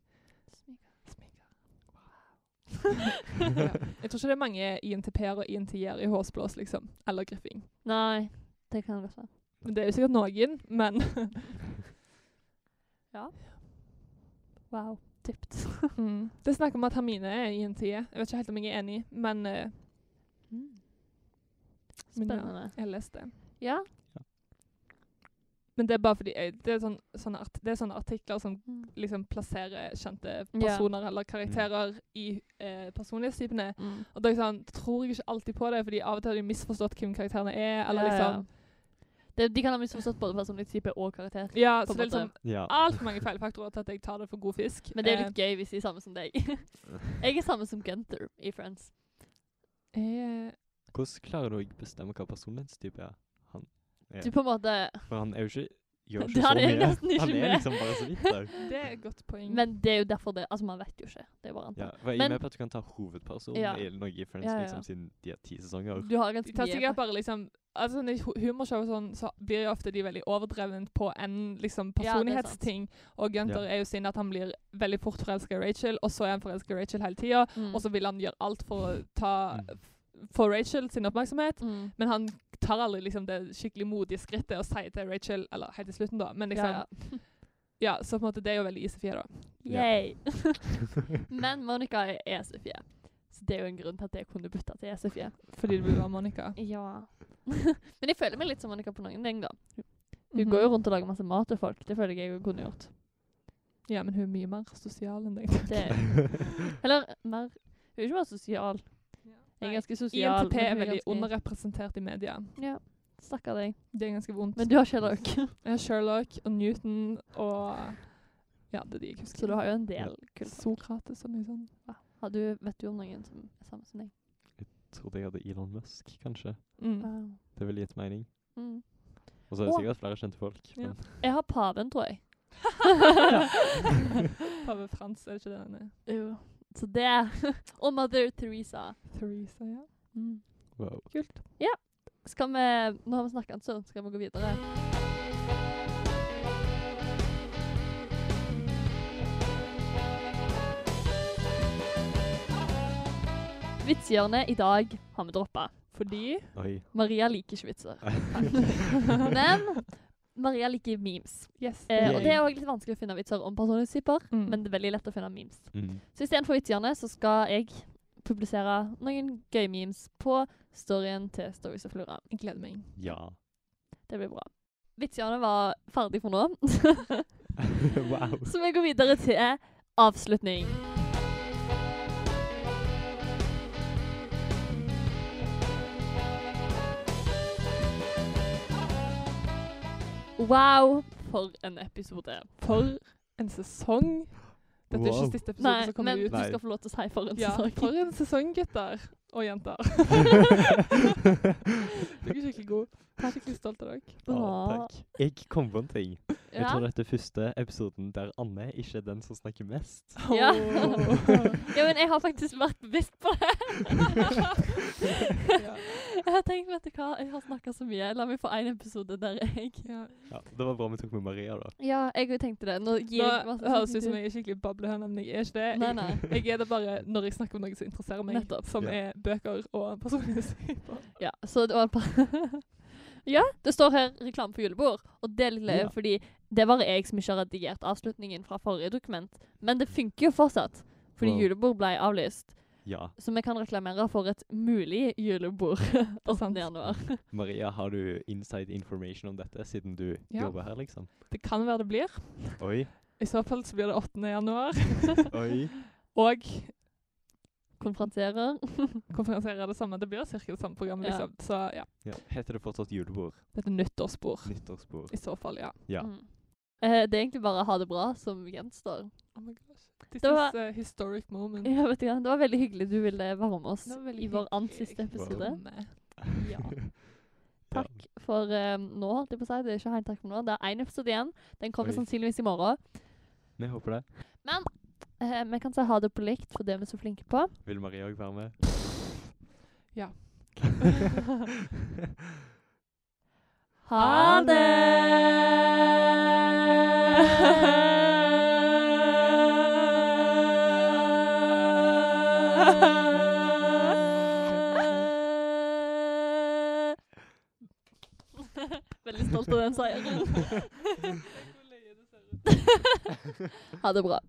S4: smyger. ja.
S2: Smyger.
S4: Jeg tror ikke det er mange INTP-er og INTJ-er i hårsblås, liksom. Eller griffing.
S2: Nei, det kan godt være.
S4: Men Det er jo sikkert noen, men
S2: Wow. Tipt.
S4: mm. Det er snakk om at Hermine er INTJ. Jeg vet ikke helt om jeg er enig, men eh, Mm. Men ja.
S2: Spennende.
S4: jeg leste det.
S2: Ja.
S4: Men det er bare fordi jeg, det, er sånn, sånne art, det er sånne artikler som
S2: Mm.
S4: liksom plasserer kjente
S2: Ja.
S4: personer eller karakterer i eh, personlighetstypene.
S2: Mm.
S4: Og da er jeg sånn, tror jeg ikke alltid på det, fordi av og til har de misforstått hvem karakterene er. eller
S2: Ja, ja.
S4: liksom...
S2: Det, de kan ha misforstått både personlig type og karakter.
S4: Ja,
S2: På
S4: så
S2: en
S4: det er
S2: måte.
S4: liksom
S3: ja.
S4: altfor mange feilfaktorer til at jeg tar det for god fisk.
S2: Men det er litt gøy hvis de er samme som deg. Jeg er samme som Gunther i Friends.
S4: Eh,
S3: Hvordan klarer du å bestemme hva personlighetstype er? Han er?
S2: Du på en måte
S3: For han er jo ikke gjør
S2: Det
S3: ikke så
S2: hadde jeg
S3: mye.
S2: nesten ikke
S3: han er
S2: med.
S3: liksom bare så vidt der.
S4: det er et godt poeng.
S2: Men det er jo derfor det Altså, man vet jo ikke. Det er bare
S3: Ja,
S2: antar.
S3: for jeg
S2: Men-
S3: er med på at du kan ta hovedpersonen
S2: Ja.
S3: i noe i Friends
S2: Ja, Mm. ja, ja.
S3: liksom siden de har ti sesonger.
S2: Du har
S4: de
S2: ganske
S4: tar
S2: mye
S4: sikkert bare liksom Altså når hu- humorshow og sånn, så blir jo ofte de veldig overdrevent på en
S2: Ja,
S4: liksom
S2: det er sant.
S4: personlighetsting. og Gunther er jo synd at han blir veldig fort forelska i Rachel, og så er han forelska i Rachel hele tida.
S2: Mm.
S4: Og så vil han gjøre alt for å ta
S3: Mm.
S4: Få Rachel sin oppmerksomhet.
S2: Mm.
S4: Men han tar aldri liksom det skikkelig modige skrittet og sier til Rachel Eller helt til slutten, da. Men liksom,
S2: Ja,
S4: ja, Så på en måte det er jo veldig ICF, da.
S2: ja. Yay. Men Monica er E ESFJ. Så det er jo en grunn til at jeg kunne bytte til E ESFJ.
S4: Fordi du vil være Monica.
S2: Ja. Men jeg føler meg litt som Monica på noen ting, da. Mm-hmm. Hun går jo rundt og lager masse mat til folk. Det føler jeg jeg kunne gjort.
S4: Ja, men hun er mye mer sosial enn deg.
S2: Det Eller mer Hun er ikke bare sosial. Jeg er ganske sosial.
S4: INTP
S2: men
S4: er
S2: hun
S4: veldig
S2: ganske-
S4: underrepresentert i media.
S2: Ja. Stakkar deg.
S4: Det er ganske vondt.
S2: Men du har Sherlock,
S4: Jeg har Sherlock og Newton og Ja, det er de jeg husker.
S2: så du har jo en del kult.
S4: Sokrates og noe sånt.
S2: Har du, vet du om noen som er samme som deg?
S3: Trodde jeg hadde Elon Musk, kanskje.
S4: Mm.
S2: Wow.
S3: Det ville gitt mening.
S2: Mm.
S3: Og så er det
S2: Å.
S3: sikkert flere kjente folk.
S4: Ja.
S3: Men
S2: Jeg har paven, tror jeg.
S4: Pave Frans, er det ikke det den er?
S2: Jo. Så det Og Mother Teresa.
S4: Theresa, ja. Mm,
S3: wow.
S4: Kult.
S2: Skal vi Nå har vi snakka en stund, skal vi gå videre? Vitsehjørnet i dag Eh, har vi droppa.
S4: Fordi
S3: Oi.
S2: Maria liker ikke vitser. Men Maria liker memes.
S4: Yes.
S2: Eh, og
S3: Yay.
S2: det er også litt vanskelig å finne vitser om personlighetstyper,
S4: Mm.
S2: men det er veldig lett å finne memes.
S3: Mm.
S2: Så istedenfor vitsene så skal jeg publisere noen gøye memes på storyen til Stories of Flora.
S4: Jeg gleder meg.
S3: Ja.
S2: Det blir bra. Vitsene var ferdig for nå,
S3: wow.
S2: så vi går videre til avslutning. Wow, for en episode.
S4: For en sesong. Dette er
S3: Wow.
S4: ikke siste episode
S2: Nei,
S4: som kommer
S2: men du
S4: ut.
S3: Nei.
S2: skal få lov til å si for en
S4: Ja,
S2: sesong.
S4: for en sesong, gutter og jenter. Dere er skikkelig gode. Jeg er skikkelig stolt av dere.
S3: Ja,
S2: Bra.
S3: takk. Jeg kom på en ting. Jeg
S2: Ja.
S3: tror dette er første episoden der Anne ikke er den som snakker mest.
S2: Ja.
S4: Åh.
S2: ja, men jeg har faktisk vært bevisst på det. jeg har tenkt, vet du hva, jeg har snakka så mye. La meg få én episode der jeg
S4: Ja.
S3: Ja, det var bra vi tok med Maria, da.
S2: Ja, jeg òg tenkte det. Nå gir
S4: Nå
S2: jeg masse sånn
S4: høres det ut som jeg er skikkelig bablehøne, men jeg er ikke det.
S2: Nei, nei.
S4: Jeg, jeg er det bare når jeg snakker om noe som interesserer meg,
S2: Nettopp.
S4: som
S3: Ja.
S4: er bøker og personlige sider.
S2: Ja, så det var bare Ja, det står her reklame for julebord, og det er litt løye,
S3: Ja.
S2: fordi det var jeg som ikke har redigert avslutningen fra forrige dokument. Men det funker jo fortsatt, fordi
S3: Wow.
S2: julebord ble avlyst.
S3: Ja.
S2: Så vi kan reklamere for et mulig julebord 8.
S4: sant.
S2: januar.
S3: Maria, har du inside information om dette, siden du
S4: Ja.
S3: jobber her, liksom?
S4: Det kan være det blir.
S3: Oi,
S4: I så fall så blir det 8. januar.
S3: oi.
S4: Og
S2: Konfronterer.
S4: konferanser er det samme. Det blir ca. det samme programmet,
S2: Ja.
S4: liksom. Så ja.
S3: Ja. Heter det fortsatt julebord?
S4: Det er et nyttårsbord.
S3: Nyttårsbord?
S4: I så fall, ja.
S3: Ja.
S2: Mm. Eh, det er egentlig bare ha det bra som gjenstår.
S4: Oh my gosh. This
S2: Det var-
S4: is a historic moment.
S2: Ja, vet du hva? Det var veldig hyggelig du ville varme oss
S4: Mm. Det var veldig
S2: i vår
S4: hyggelig.
S2: annet siste episode.
S4: Med-
S2: Ja. Takk for eh, nå, holdt jeg på å si. Det er ikke helt takk for nå. Det er én episode igjen. Den kommer
S3: Oi.
S2: sannsynligvis i morgen.
S3: Vi håper det.
S2: Men eh, vi kan si ha det på likt, for det er vi så flinke på.
S3: Vil Maria òg være med?
S4: Ja.
S2: Ha det! Veldig stolt av den seieren. ha det bra.